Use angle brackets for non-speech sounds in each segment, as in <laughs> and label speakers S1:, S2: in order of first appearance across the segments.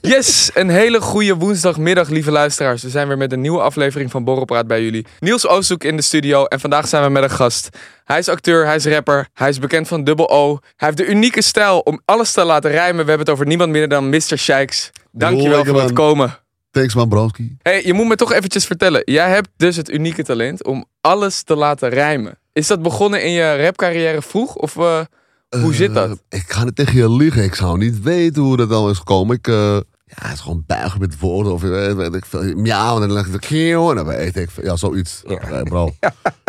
S1: Yes, een hele goede woensdagmiddag, lieve luisteraars. We zijn weer met een nieuwe aflevering van Borrelpraat bij jullie. Niels Oosthoek in de studio en vandaag zijn we met een gast. Hij is acteur, hij is rapper, hij is bekend van Double O. Hij heeft de unieke stijl om alles te laten rijmen. We hebben het over niemand minder dan Mr. Shikes. Dankjewel
S2: Lekker,
S1: voor het
S2: man.
S1: komen.
S2: Thanks man, broski.
S1: hey, je moet me toch eventjes vertellen. Jij hebt dus het unieke talent om alles te laten rijmen. Is dat begonnen in je rapcarrière vroeg? Of eh, hoe zit dat?
S2: Eh, ik ga niet tegen je liegen. Ik zou niet weten hoe dat dan is gekomen. Ik, eh, ja, het is gewoon buigen met woorden. Of eh, weet ik veel. Miauw. En dan leg ik de keel. En dan weet ik veel. Ja, zoiets. Nee,
S1: <laughs>
S2: bro.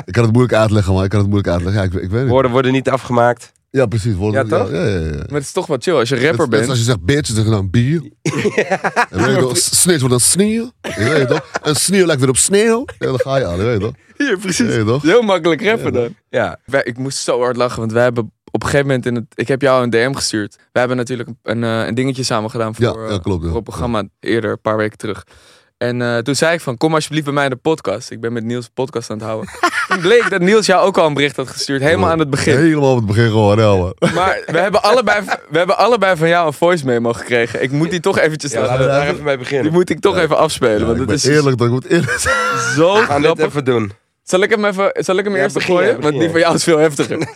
S2: Ik kan het moeilijk uitleggen, man. Ik kan het moeilijk uitleggen. Ja, ik, ik weet het.
S3: Woorden worden niet afgemaakt.
S2: Ja, precies. Woorden,
S1: Ja, toch?
S2: Ja, ja, ja. ja.
S1: Maar het is toch wel chill als je rapper
S2: Net- net
S1: bent. <laughs>
S2: Als je zegt bitch, dan zeg je dan bier. En weet je toch, snitch wordt dan sneeuw. Je weet toch? En sneeuw lijkt weer op sneeuw. Ja, dan ga je aan. Je weet toch?
S1: Hier,
S2: Je
S1: precies.
S2: weet toch?
S1: Heel makkelijk rappen dan.
S3: Ja.
S1: Wij- ik moest zo hard lachen, want wij hebben op een gegeven moment in het. Ik heb jou een DM gestuurd. Wij hebben natuurlijk een, eh, een dingetje samen gedaan voor,
S2: Ja,
S1: eh,
S2: ja, klopt, ja.
S1: voor een programma eerder, een paar weken terug. En eh, toen zei ik van, kom alsjeblieft bij mij in de podcast. Ik ben met Niels een podcast aan het
S2: <laughs>
S1: houden. toen bleek dat Niels jou ook al een bericht had gestuurd, helemaal aan het begin.
S2: Helemaal op het begin gewoon, ja, man.
S1: Maar we hebben allebei, we hebben allebei van jou een voice memo gekregen. Ik moet die toch eventjes,
S3: Ja, laten we daar even mee beginnen.
S1: die moet ik toch even afspelen, want
S2: ik
S1: het
S2: ben
S1: is
S2: eerlijk, dat ik moet eerlijk zijn.
S1: zo
S3: We gaan dit
S1: grappig.
S3: even doen.
S1: Zal ik hem even, zal ik hem
S3: Ja,
S1: eerst
S3: begin jij,
S1: gooien?
S3: begin
S1: Want
S3: jij.
S1: die van jou is veel heftiger.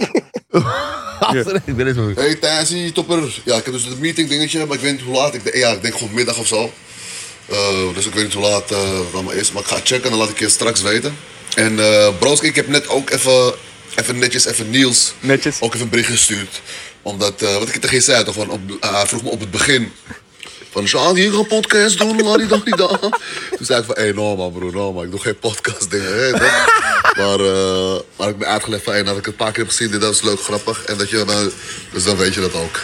S3: <laughs>
S2: Ik ben niet zo goed.
S4: Hey Tassie, topper. Ja, ik heb dus een meeting dingetje, maar ik weet niet hoe laat. Ik, denk- ja, ik denk gewoon middag of zo. Eh, dus ik weet niet hoe laat eh, het allemaal is. Maar ik ga checken en dan laat ik je straks weten. En eh Broski, ik heb net ook even, even netjes, even Niels.
S1: Netjes.
S4: Ook even een bericht gestuurd. Omdat, eh, wat ik tegen je zei, toch, van op, ah, hij vroeg me op het begin. Van, Sjaan, hier een podcast doen, laat die dag niet aan. Toen zei ik van, hé, hey, no man, broer, no man, ik doe geen podcast dingen, hè, toch? Maar, eh, maar ik ben uitgelegd van, hey, dat ik het een paar keer heb gezien, dit dat is leuk, grappig. En dat je, nou, dus dan weet je dat ook.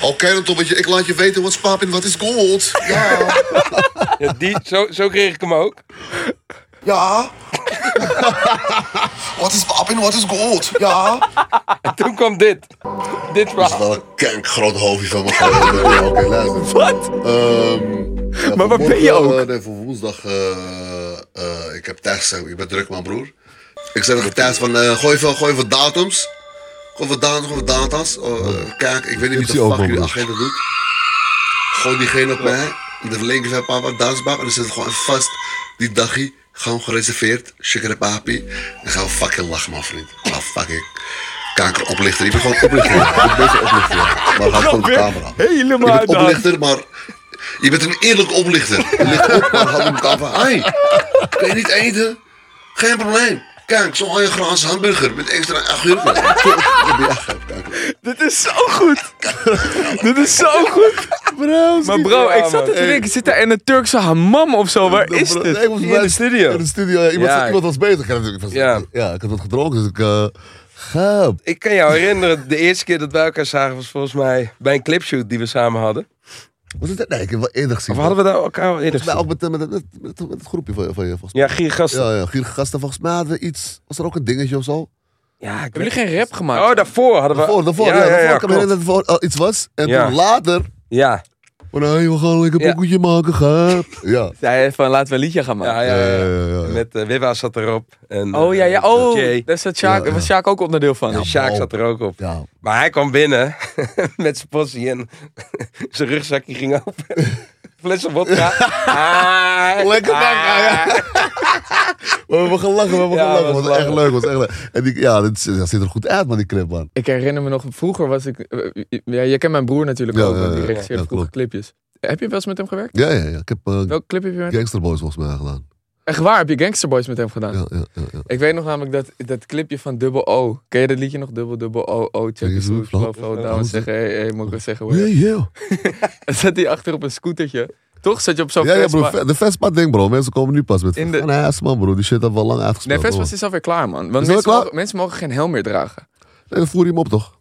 S4: Oké, dan toppertje, ik laat je weten, wat is papin, wat is gold? Ja.
S3: Ja, die, zo, zo kreeg ik hem ook.
S4: Ja. <laughs> wat is papin, wat is gold? Ja.
S3: En toen kwam dit.
S4: Dat
S3: Dit
S4: is
S3: verhaal.
S4: wel een kank groot hoofdje van me. Ja, Oké, luister.
S1: <laughs> Wat?
S4: Ehm, ja,
S1: Maar waar
S4: voor
S1: ben je
S4: morgen,
S1: ook?
S4: eh, nee, voor woensdag. eh, eh, ik heb thuis gezegd, ik ben druk, man, broer. Ik zei tegen thuis van, eh, gooi, even, gooi even datums. Gooi even datums, gooi even data's. Eh, eh, kijk, ik weet niet wie
S2: Ik zie
S4: de
S2: Oh. ook
S4: fuck
S2: wel,
S4: jullie
S2: broer.
S4: agenda doet. Gooi diegene op mij. De linker van papa, dansbak. En dan zit het gewoon vast. Die dagie, gewoon gereserveerd. Sugar papi. En gaan we fucking lachen, man, vriend. Ah, fucking kankeroplichter. Ik ben gewoon oplichter. Ik ben een beetje oplichter. Maar gaat gewoon op de camera.
S1: <laughs> Helemaal
S4: Je bent
S1: uit.
S4: oplichter, maar je bent een eerlijke oplichter. Je ligt op, maar houdt elkaar van. Hé, kun je niet eten? Geen probleem. Kijk, zo'n al je graanse hamburger met extra augurken.
S1: Dit is zo goed. Dit is zo goed. Bro, maar bro, ik zat er te denken, zit daar in een Turkse hammam of zo? Waar is
S2: Nee,
S1: dit?
S2: <laughs> ik was
S3: Hier
S2: bij-
S3: in de studio.
S2: In de studio, ja.
S3: <laughs>
S2: Iemand,
S3: Ja.
S2: iemand was bezig. Ja, natuurlijk, ik was-
S3: Ja.
S2: ja, ik had wat gedronken, dus ik... eh gaap.
S3: Ik kan jou herinneren, de eerste keer dat wij elkaar zagen was volgens mij bij een clipshoot die we samen hadden.
S2: Was het, nee, ik heb wel eerder gezien.
S3: Of hadden we daar elkaar al eerder
S2: Volgens mij
S3: gezien?
S2: ook met, eh, met, met, met, met het groepje van, van je, volgens mij.
S3: Ja, Giergasten.
S2: Ja, ja, gierige gasten. Volgens mij hadden we iets... Was er ook een dingetje of zo?
S3: Ja, ik
S1: Hebben
S3: weet-
S1: jullie geen rap gemaakt?
S3: Oh, daarvoor hadden we...
S2: Daarvoor, daarvoor. Ja, daarvoor. ik kan me
S3: klopt.
S2: herinneren dat er voor- al iets was. En
S3: Ja.
S2: toen later...
S3: ja,
S2: Van, hé, we gaan lekker
S3: Ja.
S2: een pokoetje
S1: <laughs>
S2: maken, gaap. Ja.
S1: Hij heeft van, laten we een liedje gaan maken.
S3: ja, ja, ja.
S2: Ja, ja, ja, ja.
S3: Met eh, Wiwa zat erop. En,
S1: Oh ja, ja.
S3: eh,
S1: Oh,
S3: Jay.
S1: daar zat Sjaak,
S2: Ja, ja.
S1: was Sjaak ook onderdeel van.
S3: En Sjaak zat er ook op.
S2: Ja.
S3: Maar hij kwam binnen <laughs> met zijn possie en <laughs> zijn rugzakje ging open. <laughs> Flessen vodka. <laughs> Ah,
S2: Lekker vodka, ja.
S3: ah.
S2: We hebben gelachen, we hebben
S3: Ja,
S2: gelachen.
S3: was
S2: was echt leuk, was echt leuk. En die, ja, dat, dat ziet er goed uit, man, die clip, man.
S1: Ik herinner me nog, vroeger was ik... eh, Ja, je kent mijn broer natuurlijk
S2: Ja,
S1: ook,
S2: ja,
S1: want die
S2: ja.
S1: regisseerde
S2: Ja,
S1: vroeger
S2: klopt.
S1: clipjes. Heb je wel eens met hem gewerkt?
S2: Ja, ja, ja. Ik heb eh,
S1: Welke clip heb je met hem?
S2: Gangster Boys volgens mij gedaan.
S1: Echt waar, heb je Gangster Boys met hem gedaan?
S2: Ja, ja, ja. ja.
S1: Ik weet nog namelijk dat, dat clipje van Double O. Ken je dat liedje nog? Double, double O, O, check
S2: Check
S1: it
S2: it
S1: slow,
S2: out, flow,
S1: flow, flow, oh, down.
S2: down.
S1: Zeggen, hey, hey, moet ik wel zeggen hoor.
S2: Yeah, yeah.
S1: <laughs> En zat hij achter op een scootertje. Toch? Zat je op zo'n
S2: Ja, ja,
S1: Vespa?
S2: bro, ve- de Vespa ding, bro. Mensen komen nu pas met
S1: In de-
S2: Van Haas, man, bro. Die shit hebben we al lang
S1: Nee,
S2: uitgespeeld.
S1: Vespa
S2: man.
S1: is alweer klaar, man. Want
S2: Is dat
S1: mensen,
S2: klaar?
S1: Mogen, mensen mogen geen helm meer dragen.
S2: Nee, dan voer je hem op, toch?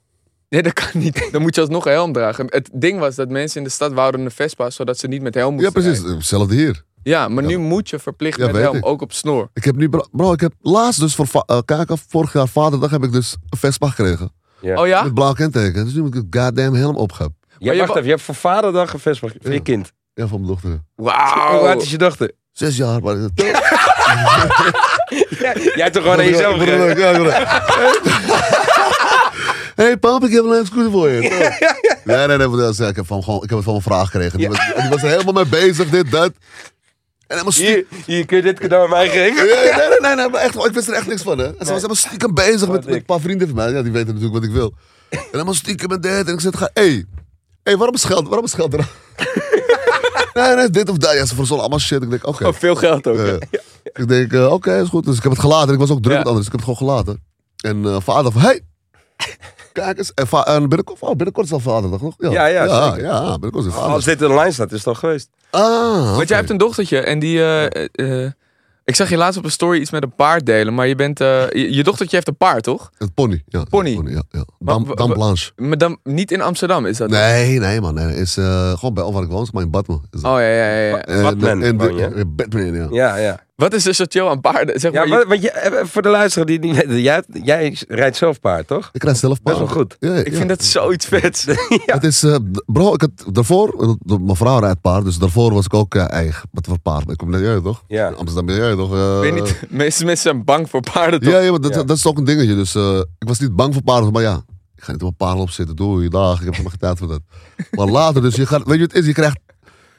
S1: Nee, dat kan niet. Dan moet je alsnog een helm dragen. Het ding was dat mensen in de stad wouden een Vespa, zodat ze niet met helm
S2: Ja,
S1: moesten
S2: precies.
S1: rijden.
S2: Hetzelfde hier.
S1: Ja, maar nu moet je verplicht
S2: Ja,
S1: met
S2: weet
S1: helm,
S2: ik.
S1: ook op snor.
S2: Ik heb nu, bro, bro, ik heb laatst dus voor va- eh, kijk, vorig jaar vaderdag heb ik dus een Vespa gekregen.
S3: Ja.
S1: Oh ja?
S2: Met blauw kenteken. Dus nu moet ik het goddamn helm op heb.
S3: Ja,
S1: je
S3: wacht
S1: wa-
S3: even, je hebt voor vaderdag een vest voor voor je
S2: Ja.
S3: kind.
S2: Ja, van mijn dochter.
S3: Hoe
S1: Wauw.
S3: oud is je dochter?
S2: Zes jaar, maar...
S3: <laughs> Jij hebt toch gewoon aan jezelf gegeven?
S2: Ja, broer. hey, pap, ik heb een scooter voor je. Nee, nee, nee. want, ja, Ik heb, van, gewoon, ik heb het van een vraag gekregen. Die, was, die was er helemaal mee bezig, dit, dat. En helemaal stiekem...
S3: Hier, hier, kun je dit cadeau aan mij <laughs> geven?
S2: Nee, nee, nee, nee, nee, maar echt, ik wist er echt niks van, hè. En ze was helemaal stiekem bezig met, met
S3: dik.
S2: een paar vrienden van mij. Ja, die weten natuurlijk wat ik wil. En helemaal stiekem met dit. En ik zei, ga, hey, hey, waarom scheld, waarom scheld er? <laughs> nee, nee, dit of dat. Ja, ze verzonnen allemaal shit. Ik denk, oké.
S1: Oh, veel geld ook.
S2: Ja. Eh, <laughs> Ik denk, eh, oké, is goed. Dus ik heb het gelaten. Ik was ook druk
S1: Ja.
S2: met anderen, dus ik heb het gewoon gelaten. En eh, vader van, hey, kijk eens. En, va- en binnenkort, oh, binnenkort is al vaderdag, toch?
S3: Ja, ja,
S2: ja,
S3: zeker. Ah,
S2: ja, binnenkort is het
S3: Als
S2: vaderdag.
S3: dit online staat, is het al geweest.
S2: Ah, oké.
S1: Want jij hebt een dochtertje en die... eh, eh, eh, ik zag je laatst op een story iets met een paard delen, maar je bent... eh, je, je dochtertje heeft een paard, toch?
S2: Het pony. Ja, het
S1: Pony.
S2: ja, ja. Dam,
S1: wa-
S2: Dam
S1: wa-
S2: Blanche.
S1: Maar dan niet in Amsterdam, is dat?
S2: Nee, nee man. Nee, nee. Is, eh, gewoon bij waar ik woon, is maar in Batman. Is dat.
S1: Oh, ja, ja, ja, ja.
S2: En-
S3: Batman
S2: en de-
S3: woon je?
S2: eh, Batman, ja.
S3: Ja, ja.
S1: Wat is dus zo chill aan paarden? Zeg
S3: Ja,
S1: maar, je-
S3: maar, want je, eh, voor de luisteraar die het niet <laughs> weten, jij, jij rijdt zelf paard, toch?
S2: Ik rijd zelf
S3: Best
S2: paard.
S3: wel goed.
S2: Ja,
S1: ik
S2: ja.
S1: vind dat zoiets
S3: <laughs>
S1: vets.
S2: Het is, eh, d- bro, ik had daarvoor, eh, d- mijn vrouw rijdt paard, dus daarvoor was ik ook eh, eigen. Wat voor paard? Ik kom net, jij toch?
S3: Ja.
S2: In Amsterdam ben jij toch? eh,
S1: Ik weet niet, de meeste mensen zijn bang voor paarden, <laughs> toch?
S2: Ja, ja, maar dat,
S3: Ja.
S2: dat is ook een dingetje. Dus eh, ik was niet bang voor paarden, maar ja, ik ga niet op een paard opzitten. Doei, dag, ik heb helemaal geen tijd voor dat. Maar later, dus je gaat, weet je wat het is? Je krijgt,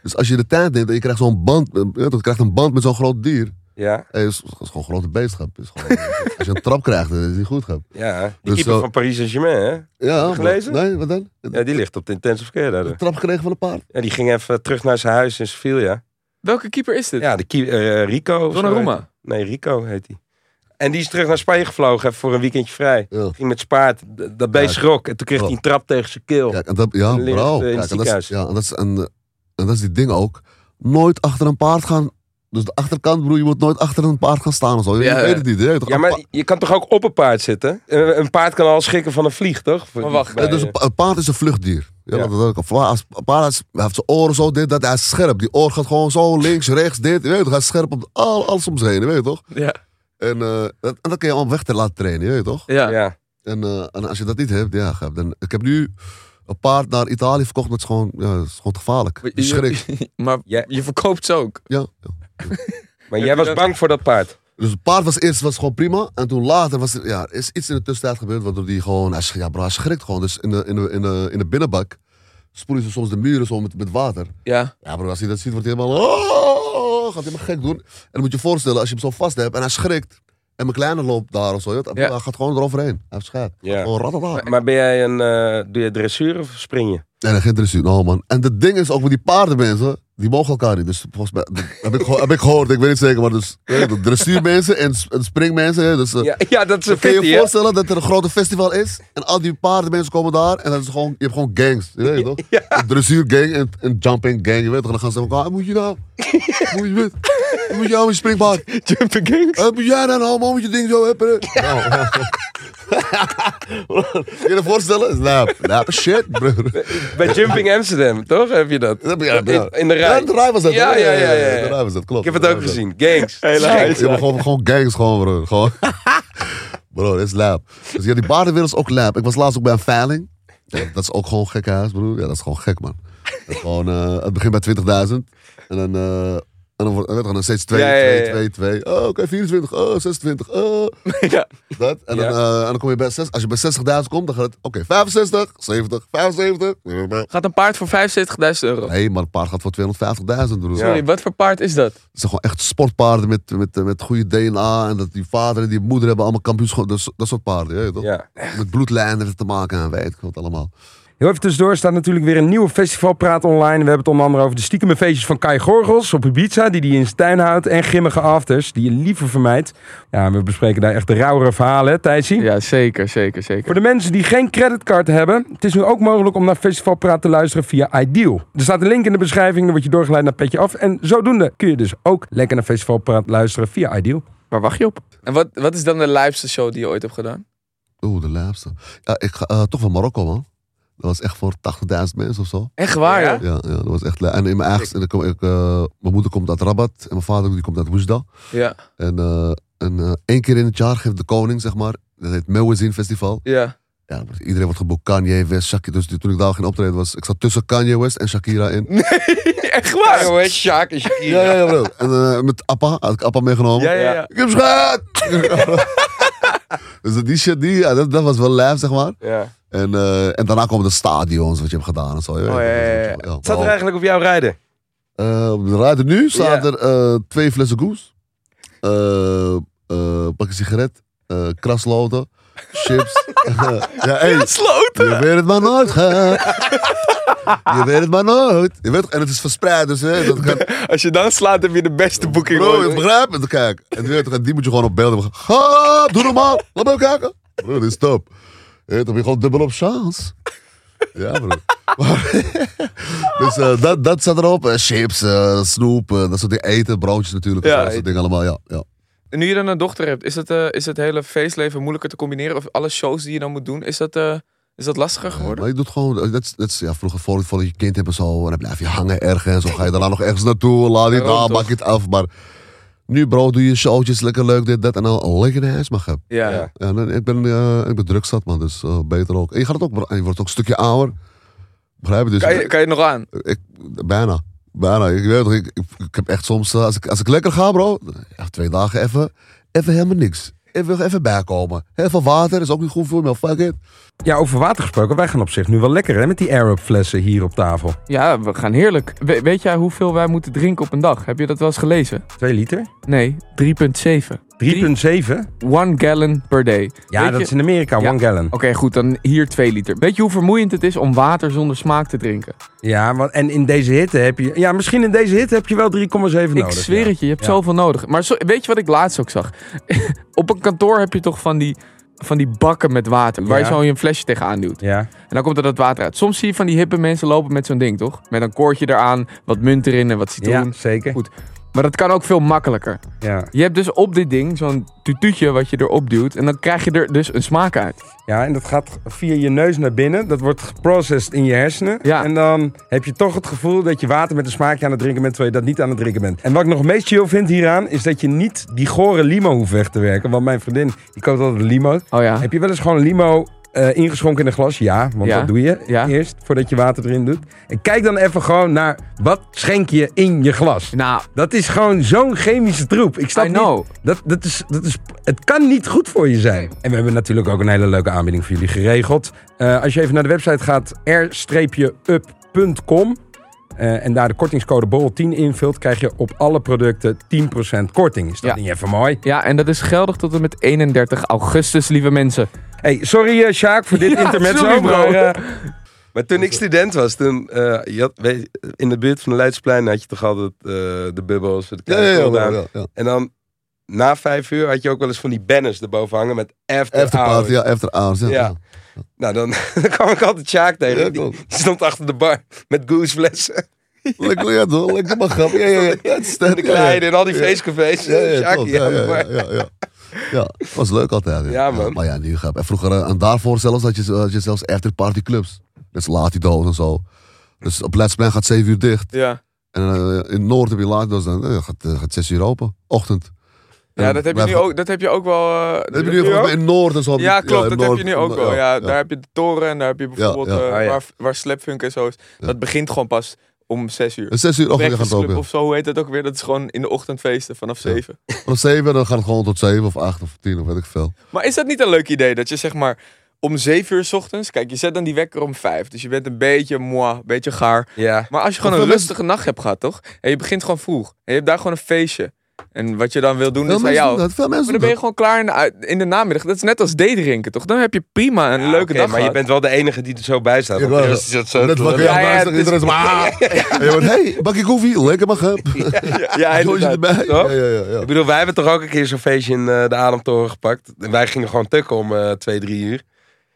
S2: dus als je de tijd neemt en je krijgt zo'n band, eh, je krijgt een band met zo'n groot dier.
S3: Ja,
S2: Het is, is gewoon een grote beestschap. Is gewoon, eh, als je een trap krijgt, dan is het niet goed. Grap.
S3: ja. Die
S2: Dus
S3: keeper
S2: zo-
S3: van Paris Saint-Germain, hè?
S2: Ja,
S3: je gelezen?
S2: maar- nee, wat dan?
S3: Ja, die ligt op de intensive care daar.
S2: Een trap gekregen van een paard.
S3: Ja, die ging even terug naar zijn huis in Sevilla.
S1: Welke keeper is dit?
S3: Ja, de kie- eh, Rico. of zo heet-
S1: Donnarumma.
S3: Nee, Rico heet hij. En die is terug naar Spanje gevlogen even voor een weekendje vrij.
S2: Ja.
S3: Ging met spaard. Dat beest
S2: Ja.
S3: schrok. En toen kreeg hij een trap tegen zijn keel.
S2: Kijk, en dat, ja,
S3: Ligt, eh, in
S2: bro.
S3: het
S2: Kijk, en dat
S3: ziekenhuis.
S2: is, ja, en dat is een, eh, en dat is die ding ook. Nooit achter een paard gaan. Dus de achterkant, broer, je moet nooit achter een paard gaan staan of zo. Je
S1: Ja,
S2: weet het niet. hè?
S3: Ja, maar je kan toch ook op een paard zitten? Een een paard kan al schikken van een vlieg, toch? eh,
S1: Maar wacht,
S2: Ja, dus een, pa- een paard is een vluchtdier. Ja,
S3: Ja.
S2: Dat, dat, dat, als, een paard is- hij heeft zijn oren zo, dit, dat, hij is scherp. Die oor gaat gewoon zo links, rechts, dit. Je weet, toch, hij is scherp op al, alles om zich heen, je weet je toch?
S1: Ja.
S2: En, eh, dat, en dat kun je allemaal weg te laten trainen, je weet toch?
S1: Ja.
S3: ja. ja.
S2: En, eh, en als je dat niet hebt, ja, grap, dan, ik heb nu een paard naar Italië verkocht, maar het is gewoon, ja, het is gewoon te gevaarlijk. Je schrikt.
S1: <laughs> Maar
S3: Ja.
S1: je verkoopt ze ook.
S2: Ja. ja.
S3: Maar
S1: Heb
S3: jij
S1: je
S3: was
S1: dat-
S3: bang voor dat paard.
S2: Dus het paard was eerst was gewoon prima. En toen later was er, ja, er is iets in de tussentijd gebeurd waardoor die gewoon, hij, sch- ja, bro, hij schrikt gewoon. Dus in de, in de, in de, in de binnenbak spoelen ze soms de muren zo met, met water.
S1: Ja.
S2: Ja, bro, als hij dat ziet, wordt hij helemaal. Oh, gaat hij helemaal gek doen. En dan moet je je voorstellen, als je hem zo vast hebt en hij schrikt. En mijn kleine loopt daar of zo. joh,
S1: Ja.
S2: Hij gaat gewoon eroverheen. Hij heeft schijt.
S3: Ja.
S2: Gewoon ratata.
S3: Maar ben jij een... eh, doe je dressuur of spring je?
S2: Nee, dat geïnteresseerd. Nou, man. En het ding is ook met die paarden, mensen. Die mogen elkaar niet. Dus volgens mij. dat heb, ik, geho- heb ik gehoord, ik weet niet zeker. Maar dus. eh, de Dressuurmensen en, s- en springmensen. hè, Dus, eh,
S3: Ja, ja dat is een
S2: Kun je
S3: fitty,
S2: je
S3: hè?
S2: voorstellen dat er een grote festival is en al die paardenmensen komen daar en dat is gewoon, je hebt gewoon gangs, je weet het toch? Een dressuurgang en een jumping gang, je weet toch? En dan gaan ze elkaar, "Ah, moet je nou? moet je met? Moet je nou met je springpaard?
S1: Jumping gangs.
S2: Eh, Moet jij nou nou, man, met je ding zo hebben? hè?" Nou, <laughs> Kun je je voorstellen? Nou, nou, shit, bro.
S3: Bij Jumping Amsterdam, toch? Heb je dat?
S2: Dat heb ik- ja, ja.
S3: In, in de
S2: Ja,
S3: rij.
S2: in de rij was dat.
S3: Ja,
S2: hè?
S3: ja, ja, ja,
S2: In de rij was dat, klopt.
S3: Ik heb het
S2: In de
S3: ook
S2: rij was dat.
S3: gezien. Gangs.
S2: Gangs, ja, maar gewoon, gewoon gangs, gewoon, bro. Gewoon. <laughs> bro, dit is lab. Dus ja, die baardenwereld is ook lab. Ik was laatst ook bij een veiling. Ja, dat is ook gewoon gek huis, broer. Ja, dat is gewoon gek, man. Dat is gewoon, eh, het begint bij 20.000. En dan, eh en dan wordt het dan steeds 2,
S3: Ja, ja, ja, ja.
S2: 2, 2, 2. Oh, oké, 24, oh, 26, oh.
S1: Ja.
S2: Dat. En, dan,
S3: <laughs> Ja.
S2: eh, en dan kom je bij 6. Als je bij 60.000 komt, dan gaat het, oké, 65, 70, 75.
S1: Gaat een paard voor 75.000 euro.
S2: Nee, maar een paard gaat voor 250.000, broer.
S3: Ja.
S1: Sorry, wat voor paard is dat?
S2: Het zijn gewoon echt sportpaarden met, met, met goede DNA. En dat die vader en die moeder hebben allemaal kampioenschap. Dat, dat soort paarden, je weet toch?
S3: Ja.
S2: Met bloedlijnen te maken en weet ik wat allemaal.
S3: Heel even tussendoor staat natuurlijk weer een nieuwe festivalpraat online. We hebben het onder andere over de stiekeme feestjes van Kai Gorgels op Ibiza, die hij in zijn tuin houdt. En grimmige afters, die je liever vermijdt. Ja, we bespreken daar echt de rauwere verhalen, hè, Thijsie?
S1: Ja, zeker, zeker, zeker.
S3: Voor de mensen die geen creditcard hebben, het is nu ook mogelijk om naar Festivalpraat te luisteren via Ideal. Er staat een link in de beschrijving, dan word je doorgeleid naar Petje Af. En zodoende kun je dus ook lekker naar Festivalpraat luisteren via Ideal.
S1: Waar wacht je op? En wat, wat is dan de lijpste show die je ooit hebt gedaan?
S2: Oeh, de laatste. Ja, ik ga eh, toch van Marokko, man. Dat was echt voor 80.000 mensen of zo.
S1: Echt waar,
S3: Ja?
S1: ja?
S2: Ja, ja dat was echt la- En in mijn eigen... En dan kom ik, eh, mijn moeder komt uit Rabat en mijn vader die komt uit Woesda.
S1: Ja.
S2: En, eh, en eh, één keer in het jaar geeft de koning, zeg maar... Dat heet Meuwezin Festival.
S1: Ja.
S2: Ja, maar iedereen wordt geboekt. Kanye West, Shakira. Dus toen ik daar ging optreden was, ik zat tussen Kanye West en Shakira in.
S1: Echt waar?
S5: Jongen, Sjaak is
S2: <laughs>
S5: hier.
S2: Ja, ja, ja, bro. En eh, met Appa, had ik Appa meegenomen.
S1: Ja, ja, ja.
S2: Ik heb schaat! <laughs> dus die shit, die, ja, dat, dat was wel live, zeg maar.
S5: Ja.
S2: En, eh, en daarna komen de stadions, wat je hebt gedaan en zo. Je weet
S5: ja, ja, ja.
S2: het, weet je wel.
S3: Wat staat er eigenlijk op jouw rijden?
S2: Eh, op de ruiter nu staat er eh, twee flessen goes. Eh, eh, pak een sigaret. eh, krasloten. Chips. <laughs> ja, hey, je weet het maar nooit, gek. Je weet het maar nooit. Je weet, en het is verspreid, dus hè, dat kan,
S1: Als je dan slaat, heb je de beste boeking
S2: Bro, ik
S1: ooit.
S2: begrijp het. Kijk, en die, weet je, die moet je gewoon op beelden. hebben. Ha, doe normaal. Laat me even kijken. Bro, dit is top. Je weet, Dan heb je gewoon dubbel op chance. Ja, bro. <laughs> Maar- dus eh, dat, dat zat erop. Eh, chips, eh, snoep, eh, dat soort dingen. Eten, broodjes natuurlijk.
S1: Ja,
S2: Ja, dat soort dingen allemaal. Ja, ja.
S1: Nu je dan een dochter hebt, is het, eh, is het hele feestleven moeilijker te combineren? Of alle shows die je dan moet doen, is dat, eh, is dat lastiger geworden?
S2: Maar je doet gewoon, eh, dat is, dat is- ja, vroeger voor, voordat je kind hebt en zo, en dan blijf je hangen ergens, of ga je daarna nog ergens naartoe, laat dit
S1: Daarom
S2: aan,
S1: toch?
S2: maak het af. Maar nu bro, doe je showtjes, lekker leuk, dit, dat, en dan lekker naar huis mag hebben.
S1: Ja.
S3: Ja.
S2: Ja, nee, ik, ben, eh, ik ben druk zat, man, dus eh, beter ook. En je, gaat het ook. en je wordt ook een stukje ouder. Begrijp je? Dus
S1: Kan, je, kan je het nog aan?
S2: Ik, bijna. Bijna. Ik weet toch, ik, ik, ik heb echt soms, eh, als, ik, als ik lekker ga, bro, ja, twee dagen even, even helemaal niks. Even, even bijkomen. Even water is ook niet goed voor me, fuck it.
S3: Ja, over water gesproken. Wij gaan op zich nu wel lekker hè, met die Arab flessen hier op tafel.
S5: Ja,
S1: we gaan heerlijk. weet jij hoeveel wij moeten drinken op een dag? Heb je dat wel eens gelezen?
S3: 2 liter.
S1: Nee, 3,7.
S3: 3,7.
S1: One gallon per day.
S3: Ja,
S1: Weet
S3: dat
S1: je-
S3: is in Amerika,
S1: Ja. Oh.
S3: one gallon.
S1: Oké, goed, dan hier 2 liter. Weet je hoe vermoeiend het is om water zonder smaak te drinken?
S3: Ja, want, en in deze hitte heb je... Ja, misschien in deze hitte heb je wel 3,7 nodig.
S1: ik zweer
S3: ja.
S1: het je, je hebt
S3: Ja.
S1: zoveel nodig. Maar zo, weet je wat ik laatst ook zag? <laughs> Op een kantoor heb je toch van die, van die bakken met water, waar je
S3: Ja.
S1: zo je flesje tegenaan duwt.
S3: Ja.
S1: En dan komt er dat water uit. Soms zie je van die hippe mensen lopen met zo'n ding, toch? Met een koordje eraan, wat munt erin en wat citroen.
S3: ja, zeker.
S1: Goed. Maar dat kan ook veel makkelijker.
S3: Ja.
S1: Je hebt dus op dit ding zo'n tutuutje wat je erop duwt. En dan krijg je er dus een smaak uit.
S3: ja, en dat gaat via je neus naar binnen. Dat wordt geprocessed in je hersenen.
S1: Ja.
S3: En dan heb je toch het gevoel dat je water met een smaakje aan het drinken bent... terwijl je dat niet aan het drinken bent. En wat ik nog het meest chill vind hieraan... is dat je niet die gore limo hoeft weg te werken. Want mijn vriendin, die koopt altijd limo's.
S1: Oh ja.
S3: Heb je wel eens gewoon limo eh, ingeschonken in een glas? Ja, want
S1: Ja.
S3: dat doe je
S1: Ja.
S3: eerst voordat je water erin doet. En kijk dan even gewoon naar wat schenk je in je glas.
S1: Nou,
S3: Dat is gewoon zo'n chemische troep. Ik snap
S1: I
S3: niet-
S1: know.
S3: Dat, dat is, dat is, het kan niet goed voor je zijn. En we hebben natuurlijk ook een hele leuke aanbieding voor jullie geregeld. Eh, als je even naar de website gaat, r-up.com. eh, en daar de kortingscode BOL10 invult, krijg je op alle producten 10% korting. Is dat
S1: Ja.
S3: niet even mooi?
S1: Ja, en dat is geldig tot en met 31 augustus, lieve mensen.
S3: Hey, sorry eh Sjaak voor dit
S1: <laughs> Ja,
S3: intermezzo.
S1: sorry, bro.
S3: maar, eh,
S5: Maar toen ik student was, toen, eh, je had, weet je, in de buurt van de Leidsplein had je toch altijd eh, de bubbels. De
S2: Ja,
S5: kleine
S2: ja, ja.
S5: cooldown.
S2: ja, ja, ja.
S5: En dan na vijf uur had je ook wel eens van die banners erboven hangen met after, hours.
S2: Afterparty, ja, after hours. Ja,
S5: Ja.
S2: ja.
S5: Nou, dan, <laughs> dan kwam ik altijd Sjaak tegen.
S2: Ja,
S5: die,
S2: klopt.
S5: die stond achter de bar met gooseflessen.
S2: Lekker, ja, toch? Lekker maar grap. Ja, ja, ja. Dat is
S5: En
S2: dat,
S5: de
S2: ja, ja.
S5: <laughs> kleine en al die feestcafés.
S1: <laughs>
S2: Ja, ja,
S5: Sjaak
S2: klopt.
S5: hier
S2: ja,
S5: aan de
S2: ja,
S5: bar.
S2: ja, ja, ja. Ja, het was leuk altijd. Ja,
S5: Ja, man.
S2: maar ja, nu grap. En vroeger, eh, en daarvoor zelfs, had je, had je zelfs afterparty clubs. Dus Latido's en zo. Dus op Letsplein gaat 7 uur dicht.
S1: Ja.
S2: En eh, in Noord heb je Latido's, dan eh, gaat, eh, gaat 6 uur open. Ochtend.
S1: Ja, dat heb je nu ook, dat heb je ook wel... eh,
S2: Dat heb je nu volgens mij in Noord en zo.
S1: Ja, klopt.
S2: in
S1: dat heb
S2: Noord.
S1: je nu ook wel. Ja, Daar heb je de toren en daar heb je bijvoorbeeld
S2: ja.
S1: eh,
S5: Oh, ja.
S1: waar, waar Slapfunk en zo is. Dat begint gewoon pas om 6 uur.
S2: En 6 uur ochtend gaat het
S1: Breakfastclub
S2: open.
S1: of zo, hoe heet dat ook weer? Dat is gewoon in de ochtend feesten vanaf 7.
S2: Van 7 dan gaat het gewoon tot 7 of 8 of 10 of weet ik veel.
S1: Maar is dat niet een leuk idee? Dat je zeg maar om 7 uur 's ochtends... Kijk, je zet dan die wekker om 5. Dus je bent een beetje moi, een beetje gaar.
S5: Ja.
S1: Maar als je gewoon
S2: Of
S1: een
S2: wel-
S1: rustige nacht hebt gehad, toch? En je begint gewoon vroeg. En je hebt daar gewoon een feestje. En wat je dan wil doen
S2: Veel
S1: is aan
S2: mensen
S1: jou.
S2: doen dat. Veel
S1: Maar
S2: mensen
S1: dan
S2: doen
S1: ben je gewoon
S2: dat.
S1: klaar in de, uit- in de namiddag. Dat is net als daydrinken, toch? Dan heb je prima een
S5: Ja,
S1: leuke
S5: oké,
S1: dag
S5: Maar je
S1: gehad.
S5: bent wel de enige die er zo bij staat.
S2: Ja,
S5: Want de
S2: wel.
S5: rest is dat zo
S2: Net
S5: te
S2: wat
S5: lullen.
S2: je
S1: Ja, ja,
S2: naast
S1: het is-
S2: iedereen is maar. En je wordt, hé, bakje koffie, lekker maar grap.
S5: Ja,
S2: Joost
S5: inderdaad.
S2: erbij.
S5: Toch?
S2: Ja, ja, ja. ja.
S5: Ik bedoel, wij hebben toch ook een keer zo'n feestje in eh, de Ademtoren gepakt. En wij gingen gewoon tukken om eh, twee, drie uur.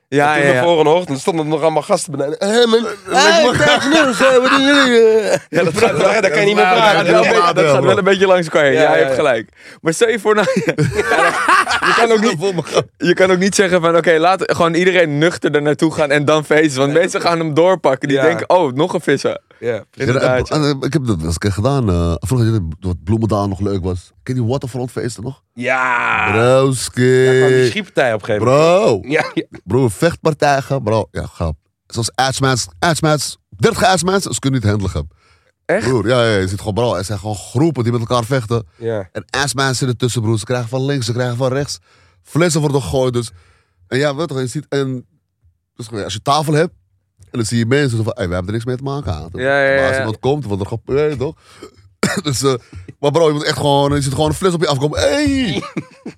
S1: ja,
S5: en
S1: ja,
S5: toen
S1: ja.
S5: de volgende ochtend stonden er nog allemaal gasten beneden. Hé, hey, man.
S2: Lekker maar grap. Wat doen jullie? eh?
S5: Ja, dat, dat, dat, kan je niet meer
S2: Ja,
S1: Ja,
S5: praten.
S2: dat-
S1: dat,
S2: heel laat,
S1: dat
S2: ja,
S1: gaat
S2: bro.
S1: wel een beetje langs elkaar heen. Ja,
S5: Ja,
S1: je
S5: ja,
S1: hebt
S5: ja.
S1: gelijk. Maar stel je voor, nou, <laughs> je, kan ook niet,
S2: Vol me grap.
S1: je kan ook niet zeggen van, oké, laat gewoon iedereen nuchter er naartoe gaan en dan feesten. Want mensen gaan hem doorpakken. Die
S5: Ja.
S1: denken, oh, nog een vissen.
S5: Ja,
S2: Ja,
S5: inderdaad.
S2: en- en- Eh, ik heb dat wel eens een keer gedaan. eh, vroeger dat Bloemendaal nog leuk was. Ken je die waterfrontfeesten nog?
S5: Ja, gewoon die
S2: Broski.
S5: schietpartij op een gegeven moment.
S2: Bro.
S5: Ja, ja.
S2: Bro, vechtpartijen, bro. Ja, grap. Zoals ijsmens, ijsmens, 30 ijsmens, ze kunnen niet handelen. grap.
S5: Echt?
S2: Broer, ja, ja, je ziet gewoon, bro, er zijn gewoon groepen die met elkaar vechten.
S5: ja.
S2: En ijsmensen ertussen, broer. Ze krijgen van links, ze krijgen van rechts. Flessen worden gegooid, dus. En ja, weet toch, je ziet, en, dus, gewoon, ja, als je tafel hebt, en dan zie je mensen zo van, hey, we hebben er niks mee te maken aan.
S5: Ja, ja, ja,
S2: Maar als
S5: ja.
S2: iemand komt, wordt er geprobeerd, toch? <coughs> dus, eh, maar bro, je moet echt gewoon, je ziet gewoon een fles op je afkomen.
S5: <laughs>
S2: Hey,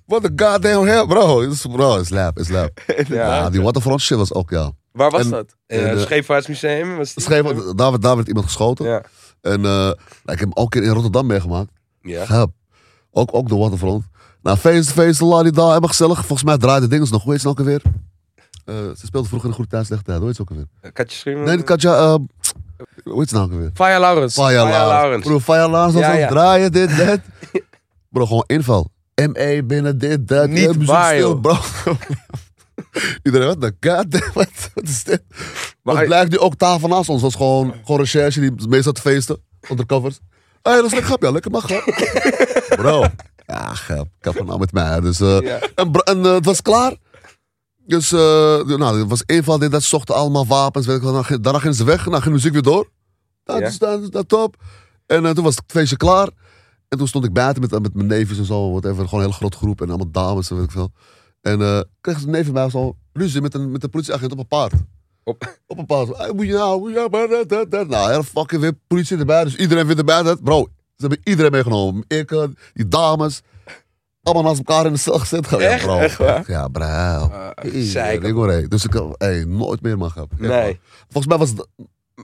S2: what the goddamn hell, bro. Het is- Bro, is lap, is
S5: <laughs>
S2: lap. Ja, die waterfront shit was ook, ja.
S5: Waar was
S2: En-
S5: dat? Eh,
S2: en, eh,
S5: Scheepvaartsmuseum? Was die?
S2: Schreef, daar, werd- daar werd iemand geschoten.
S5: Ja.
S2: En eh, ik heb hem ook een keer in Rotterdam meegemaakt.
S5: Ja.
S2: Gep. Ook, ook de waterfront. Nou, feest, feest, ladida, helemaal gezellig. Volgens mij draaide dingen nog. Hoe heet ze nou ook alweer? Eh, ze speelde vroeger in de Goede Tijd, Slechte Tijd. Hoe heet ze ook alweer?
S5: Katje Schuurman?
S2: Nee, Katja... eh hoe heet ze nou ook alweer?
S1: Faya Laurens.
S2: Faya
S5: Laurens.
S2: Laurens. Bro, Faya Laurens was
S5: Ja,
S2: aan het
S5: ja.
S2: draaien, dit, dat. Bro, gewoon inval. ME binnen dit, dat.
S1: Niet
S2: Ja, muziek
S1: waar,
S2: stil,
S1: joh.
S2: bro. <laughs> Iedereen, wat de goddamn, wat, wat is dit? Maar het blijkt nu ook tafel naast ons. Dat is gewoon, gewoon recherche die meestal te feesten. Undercovers. Hé, hey, dat is lekker grap, ja. Lekker mag, grap. Bro. <laughs> Ja, grap. Ik heb nou met mij. hè. Dus, eh,
S5: Ja.
S2: En, bro- en eh, het was klaar. Dus, eh nou, het was inval. Dit, dat zochten allemaal wapens. Weet ik, wat. Dan ging- daarna gingen ze weg. En dan ging de muziek weer door. Dat
S5: Ja.
S2: is dat, dat top. En eh, toen was het feestje klaar. En toen stond ik buiten met, met mijn neefjes en zo. Whatever, gewoon een hele grote groep. En allemaal dames en weet ik veel. En eh kreeg een neef van mij zo ruzie met een, met een politieagent op een paard.
S5: Op-
S2: <laughs> Op een paard. Hey, moet je nou, moet je nou, maar dat, dat, dat. Nou, heel fucking weer politie erbij. Dus iedereen weer erbij. Dat. Bro, ze hebben iedereen meegenomen. Ik, eh, die dames. Allemaal naast elkaar in de cel gezet. Ja,
S5: Echt?
S2: bro.
S5: Echt waar?
S2: Ja, bro.
S5: Eh,
S2: Hey,
S5: Zeiken.
S2: Dus ik, eh, hey, nooit meer mag hebben. Echt
S5: Nee.
S2: waar. Volgens mij was het...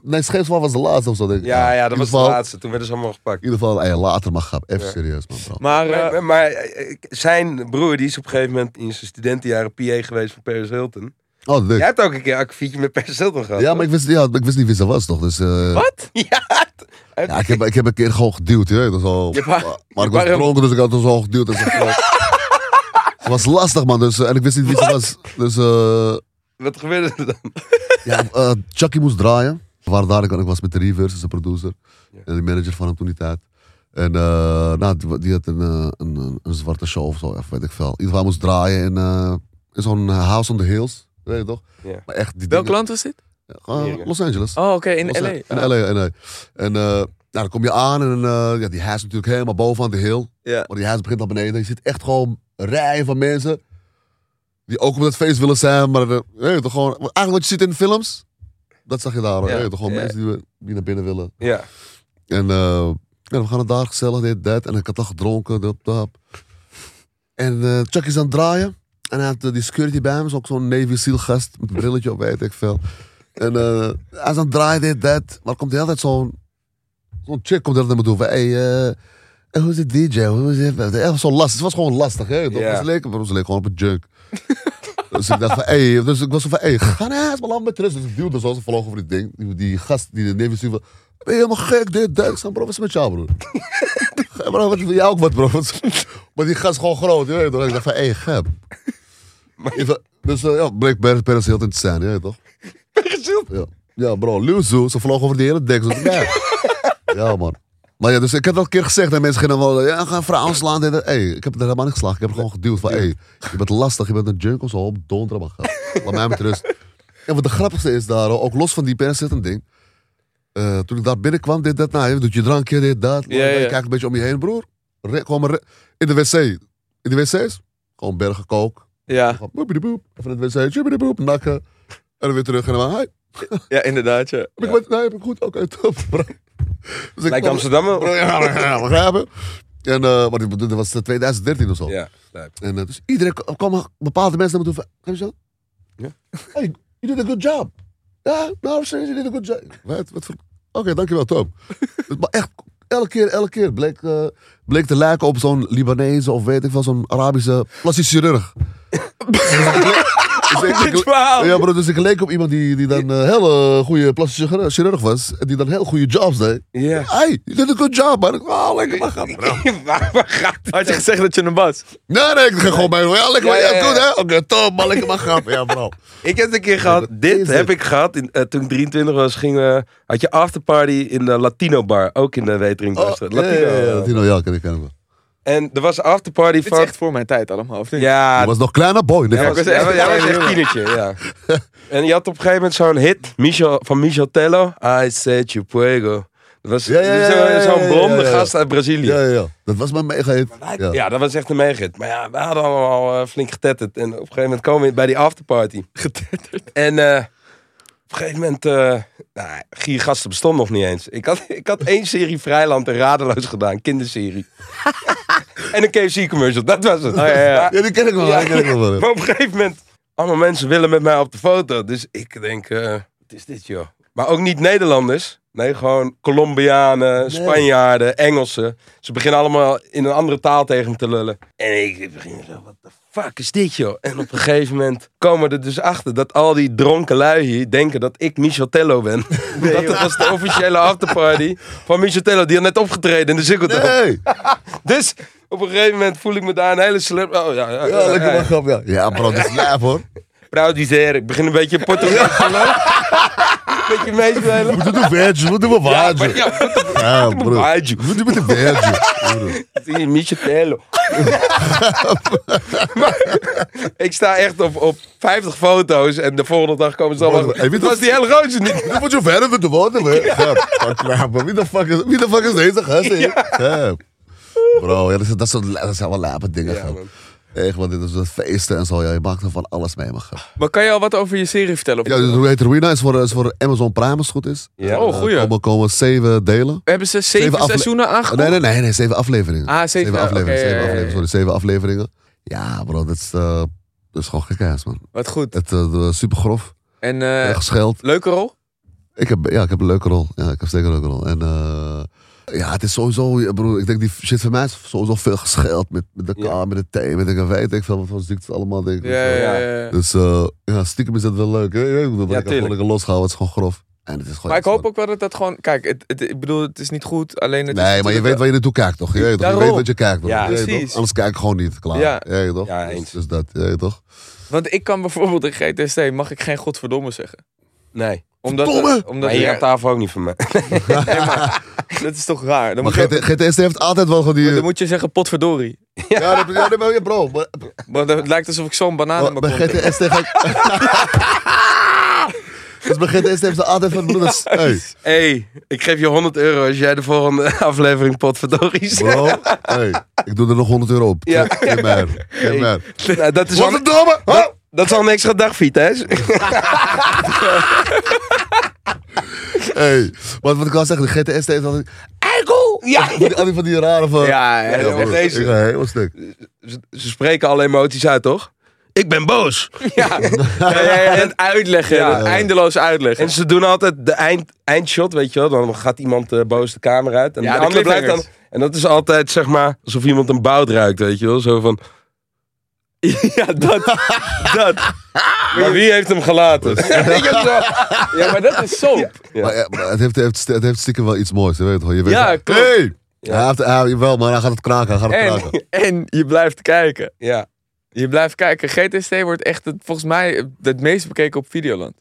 S2: Nee, Scheepswaard was de laatste of zo, denk ik.
S5: Ja, ja, dat
S2: In
S5: was de
S2: ieder geval-
S5: laatste. Toen werden ze allemaal
S2: In
S5: gepakt.
S2: ieder geval, hey, later mag gaan. Even
S5: Ja.
S2: serieus, man, bro.
S1: Maar, eh,
S5: Maar, maar- maar eh, zijn broer die is op een gegeven moment in zijn studentenjaren PA geweest van Paris Hilton.
S2: Oh, dat
S5: Jij
S2: leuk.
S5: hebt ook een keer een akkefietje met Paris Hilton gehad.
S2: Ja,
S5: toch?
S2: maar ik wist, ja, ik wist niet wie ze was, toch? Dus, eh,
S5: Wat? <laughs> Ja, t-
S2: Ja, ik heb, ik heb een keer gewoon geduwd, je weet. Dat is al,
S1: Je
S2: maar,
S1: wa-
S2: ik was
S1: waarom-
S2: dronken, dus ik had het zo geduwd. En ze
S5: <laughs>
S2: het was lastig, man. Dus, eh, en ik wist niet wie ze was. Dus eh,
S5: wat gebeurde er dan?
S2: ja, eh, Chucky moest draaien. Waar daar ik, ik was met de Reverse, de producer.
S5: Ja.
S2: En de manager van hem toen die tijd. En eh, nou, die, die had een, eh, een, een, een zwarte show of zo, of weet ik veel. In ieder geval hij moest draaien in, eh, in zo'n House on the Hills. Weet je toch?
S5: Ja.
S2: Maar echt, die
S1: welk
S2: dingen-
S1: land was dit?
S2: Eh, Los Angeles.
S1: Oh, oké, in
S2: Was
S1: L.A.
S2: het? In
S5: Oh.
S2: LA, in LA. En eh, nou, dan kom je aan en eh, ja, die haas is natuurlijk helemaal bovenaan de hill.
S5: Ja.
S2: Maar die haas begint naar beneden. Je ziet echt gewoon rijen van mensen die ook op dat feest willen zijn. Maar eh, je weet toch gewoon, eigenlijk wat je ziet in de films, dat zag je daar. hoor.
S5: Ja.
S2: Je weet toch gewoon
S5: Ja.
S2: mensen die, die naar binnen willen.
S5: Ja.
S2: En eh, ja, we gaan het daar gezellig, dit, dat. En ik had al gedronken, dat, dat. En eh, Chuck is aan het draaien. En hij had eh, die security bij hem, is ook zo'n Navy SEAL gast, met een brilletje op, weet ik veel. En eh, hij is aan het draaien, dit, dat. Maar er komt de hele tijd zo'n zo'n chick komt de hele tijd me toe van, hey, eh, eh, hoe is het DJ? Hoe is het? Het was zo lastig, het was gewoon lastig, hè. toch?
S5: Ja.
S2: Ze leken maar ze leken gewoon op een junk. <laughs> dus ik dacht van, hey, dus ik was zo van, hey, ga naar huis, maar laat me met rust. Dus ik duwde zo, ze vlogen over die ding, die, die gast, die de Navy SEAL van, ben je helemaal gek, dit, dat. Ik zei, bro, wat is met jou, broer? Hey, bro, wat, jij ook wat, bro. Wat- maar die gast is gewoon groot, je weet toch? Ik dacht van, hé, hey, gep. Ik dacht- Dus eh, ja, breek Paris, Paris Hilton te zijn, je weet toch? Ja, ja bro, Luzu, ze vlogen over die hele dek. zo. Ja. ja, man. Maar ja, dus ik heb dat een keer gezegd en mensen gingen wel, ja, ga vrouwen slaan. Dit, dat. hey, ik heb het er helemaal niet geslagen. Ik heb er gewoon geduwd van, hey, je bent lastig, je bent een junk of zo, op donder, man. Laat mij met rust. En wat de grappigste is daar, ook los van die Paris Hilton ding. eh, toen ik daar binnenkwam, dit, dat, nou, je doet je drankje, dit, dat.
S1: Ja, ja.
S2: Je kijkt een beetje om je heen, broer. Re- gewoon maar re- in de wc. In de wc's, gewoon bergen kook.
S1: Ja.
S2: Gewoon boep. Even in het wc, tjibbidi-boep, nakken. En dan weer terug en dan, hi.
S1: ja, inderdaad. Ja.
S2: Heb ik wat? Nee, heb ik goed? Oké, top. Bro. Dus ik
S5: Lijkt
S2: kwam-
S5: Amsterdam wel.
S2: Ja, ja, begrijpen. En, eh, maar dit, dit was 2013 of zo.
S5: Ja, lijkt.
S2: En, eh, dus iedereen k- kwam, bepaalde mensen naar me toe van, "Heb je zo?
S5: Ja.
S2: Hey, you did a good job. Ja, nou, serieus, you did a good job. Wat, wat voor... Oké, dankjewel, Tom.
S5: <laughs>
S2: maar echt, elke keer, elke keer bleek, eh, bleek te lijken op
S5: <laughs>
S2: zo'n Libanese of weet ik wel, zo'n Arabische plastisch chirurg. Dus ik bleek- dus ik-
S5: met dit verhaal?
S2: Ja, bro, dus ik leek op iemand die, die dan eh hele goede plastische chirurg- chirurg was. En die dan heel goede jobs deed.
S5: Ja.
S2: Hey, je doet een good job, man. Ik wou lekker lachen,
S5: <laughs>
S2: bro.
S5: waar, waar gaat het?
S1: <laughs> Had je gezegd dat je een was?
S2: Nee, nee, ik ging gewoon bij Ja, lekker,
S5: Ja,
S2: man. ja,
S5: ja, Oh, ja.
S2: goed, hè? Oké, top, man. Lekker, maar grap. Ja,
S5: <laughs>
S2: bro.
S5: Ik heb het een keer gehad. Dit
S2: is
S5: heb
S2: dit?
S5: ik gehad. In, eh, toen ik 23 was, ging, eh, had je afterparty in de Latino bar. Ook in de Wetering.
S2: Oh,
S5: Latino.
S2: ja, ja, ja, Latino, nou ja, ken ik hem.
S5: Ah, En er was afterparty
S1: Dit is
S5: van...
S1: echt voor mijn tijd allemaal, of niet?
S5: Ja,
S2: Hij was nog kleiner boy.
S5: Ja,
S2: Ja,
S5: ik was
S1: was
S5: echt,
S1: echt-
S5: jij was echt tienertje, ja. En je had op een gegeven moment zo'n hit Michel, van Michel Tello. I said you fuego. Dat was
S2: Ja, ja, ja,
S5: zo-
S2: ja, ja,
S5: zo'n
S2: ja,
S5: blonde
S2: ja, ja.
S5: gast uit Brazilië.
S2: ja,
S5: Ja,
S2: ja, ja. Dat was mijn mega hit. Ja.
S5: dat was echt een megahit. Maar ja, we hadden allemaal eh, flink getetterd. En op een gegeven moment komen we bij die afterparty. Getetterd? En eh, op een gegeven moment... eh nou, Giergasten bestond nog niet eens. Ik had, ik had één serie Vrijland en Radeloos gedaan. <laughs> Kinderserie. en een KFC commercial. Dat was het. <laughs> Maar-
S2: Ja, die ken ik nog wel. die ken ik nog wel.
S5: <laughs> maar op een gegeven moment, allemaal mensen willen met mij op de foto. Dus ik denk, eh, wat is dit joh? Maar ook niet Nederlanders. Nee, gewoon Colombianen, Spanjaarden, Engelsen. Ze beginnen allemaal in een andere taal tegen me te lullen. En ik begin zo, wat de fuck is dit joh? En op een gegeven moment komen we er dus achter dat al die dronken lui hier denken dat ik Michel Tello ben. <laughs> dat was de officiële afterparty van Michel Tello. Die had net opgetreden in de Ziggo Dome.
S2: Hey,
S5: Dus op een gegeven moment voel ik me daar een hele slap. Oh ja, ja,
S2: ja, lekker
S5: ja.
S2: maar
S5: <laughs>
S2: grap, ja. Ja, bro, dat is lijf, hoor.
S5: Praudiseren. Ik begin een beetje Portugees te lopen. Een beetje meespelen.
S2: Moet doen we wedge, moet doen we waardje.
S5: Ja,
S2: Ja, bro.
S5: waardje.
S2: Moet doen met de wedge.
S5: Zie je, Tello. <laughs> Maar ik sta echt op, op 50 foto's en de volgende dag komen ze allemaal.
S2: Hey, weet
S5: Het
S2: je
S5: was
S2: wat-
S5: die hele gozer niet.
S2: Dat moet je verder met de woorden, hè? Grap, van knap, man. Wie de fuck is, wie de fuck is deze gast, hè? Grap. Bro, ja, dat, is- dat, zijn, dat zijn wel lijpe dingen, grap.
S5: man.
S2: Echt, want dit is dat feesten en zo. Ja, je maakt er van alles mee, man. grap.
S1: Maar kan je al wat over je serie vertellen? Of
S2: Ja, dus hoe heet Ruina? Is voor, is voor Amazon Prime, als het goed is.
S5: Ja.
S1: Oh,
S2: Eh,
S1: goeie.
S2: Komen, komen zeven delen.
S1: Hebben ze zeven,
S2: Zeven afle- Oh,
S1: seizoenen aangekomen?
S2: Nee, nee, nee, nee, zeven afleveringen.
S1: Ah, zeven, ah,
S2: afleveringen,
S1: oké,
S2: zeven
S1: ja, ja, ja.
S2: afleveringen, sorry, zeven afleveringen. Ja, bro, dat is, eh, dat is gewoon gekkaas, man.
S1: Wat goed.
S2: Het eh super grof,
S1: En eh,
S2: gescheld.
S1: leuke rol?
S2: Ik heb, ja, ik heb een leuke rol. Ja, ik heb zeker een leuke rol. En eh, ja, het is sowieso, ja, broer, ik denk die shit van mij is sowieso veel gescheld met, met de
S5: Ja.
S2: kamer, met de thee, met de weet ik veel, wat voor ziektes allemaal, denk ik.
S1: Ja, ja, ja.
S2: Dus eh, ja, stiekem is dat wel leuk. Hè? Ik bedoel,
S5: Ja,
S2: ik kan gewoon
S5: tuurlijk.
S2: lekker losgehouden, het is gewoon grof. En het is gewoon
S1: Maar ik
S2: echt
S1: hoop
S2: gewoon-
S1: ook wel dat dat gewoon... Kijk, het, het- ik bedoel, het is niet goed, alleen het is
S2: Nee, maar je
S1: natuurlijk-
S2: weet waar je naartoe kijkt, toch? Je, weet toch? je
S1: Daarom.
S2: weet wat je kijkt, toch?
S5: Ja,
S2: Je weet toch?
S1: precies.
S2: Anders kijk ik gewoon niet, klaar.
S1: Ja.
S2: Je weet toch?
S5: Ja,
S2: Dus-
S5: eens.
S2: Dus dat, je weet toch?
S1: Want ik kan bijvoorbeeld in GTSD, mag ik geen godverdomme zeggen.
S5: Nee.
S1: Omdat,
S2: Verdomme!
S1: omdat
S5: Maar hier
S1: ja,
S5: aan tafel ook niet van mij.
S1: dat is toch raar? Dan,
S2: Maar
S1: moet, je,
S2: GT GTSD heeft altijd wel gewoon die...
S1: dan moet je zeggen potverdorie.
S2: Ja, dat- ja, dat ben je bro. Maar,
S1: Want het lijkt alsof ik zo'n banaan in
S2: maar bij
S1: mijn kont heb.
S2: GTSD ga
S5: <laughs>
S2: ik... <laughs> Dus bij GTSD heeft ze altijd van... Broer, dat
S5: <laughs>
S2: is- hey,
S5: hey, ik geef je 100 euro als jij de volgende <laughs> aflevering potverdorie zegt.
S2: bro. Hey, ik doe er nog 100 euro op.
S5: Ja.
S2: Ja. Geen
S5: <laughs>
S2: meer. Geen meer.
S5: Nou, dat, is al,
S2: Godverdomme! Huh?
S5: dat is al een extra dag, Vitesse.
S2: Hey, maar wat ik al zeggen, de GTSD heeft altijd...
S5: Ja,
S2: Van die, al die- van die rare van...
S5: Ja, ja,
S2: broer,
S5: ja,
S2: ik
S5: deze.
S2: ga helemaal stuk.
S5: ze, ze spreken alle emoties uit, toch? Ik ben boos.
S1: Ja. Ja, ja, ja, dat uitleggen,
S5: Ja.
S1: dat eindeloos uitleggen.
S5: En ze doen altijd de eind, eindshot, weet je wel. Dan gaat iemand eh, boos de kamer uit. En
S1: Ja,
S5: de
S1: de
S5: ander blijft dan.
S1: cliffhangers.
S5: En dat is altijd, zeg maar, alsof iemand een bout ruikt, weet je wel.
S1: <laughs>
S5: Zo van. Ja, dat. <laughs> dat. Maar wie heeft hem gelaten?
S1: Ja, maar dat
S2: <laughs>
S1: is soap.
S5: Ja.
S2: Maar, ja, maar het, heeft, het, heeft, het heeft stiekem wel iets moois, je weet toch? Je weet
S1: Ja,
S2: toch,
S1: klopt.
S2: Hey! Hij heeft, hij, jawel, maar hij gaat het kraken, hij gaat het
S5: <laughs>
S2: kraken.
S1: En, en je blijft kijken.
S5: Ja.
S1: Je blijft kijken. GTSD wordt echt het, volgens mij het meest bekeken op Videoland.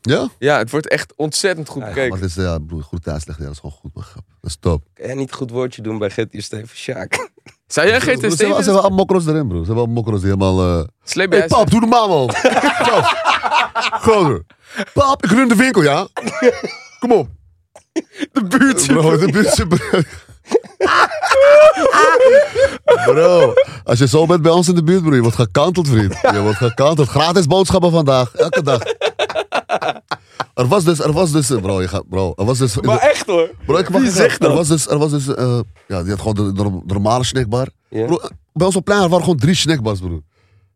S2: Ja?
S1: Ja, het wordt echt ontzettend goed
S2: Maar
S1: bekeken.
S2: het is, ja, broer, goed thuis leggen, ja, dat is gewoon goed, man. grap. Dat is top.
S5: Kan jij niet goed woordje doen bij Gertie Steven Sjaak?
S1: Zou jij
S2: Ze hebben,
S1: GTSD
S2: ze hebben
S1: willen?
S2: al mokros erin, broer. Ze hebben al mokros die helemaal... eh
S1: Slim
S2: Hey, pap, doe
S1: <laughs>
S2: normaal, man. Gast. Gozer. Pap, ik run de winkel, ja? Kom op. De buurt Bro, de buurt Bro, als je zo bent bij ons in de buurt, broer, je wordt gekanteld, vriend. Je wordt gekanteld. Gratis boodschappen vandaag, elke dag. Er was dus, er was dus, eh, bro, je gaat, bro, er was dus...
S1: Maar echt hoor.
S2: Bro, ik mag
S1: Wie zegt
S2: niet zeggen.
S1: dat?
S2: Er was dus, er was dus eh, ja, die had gewoon de, de normale snackbar.
S5: Ja.
S2: Bro, eh, bij ons op plein waren gewoon drie snackbars, broer.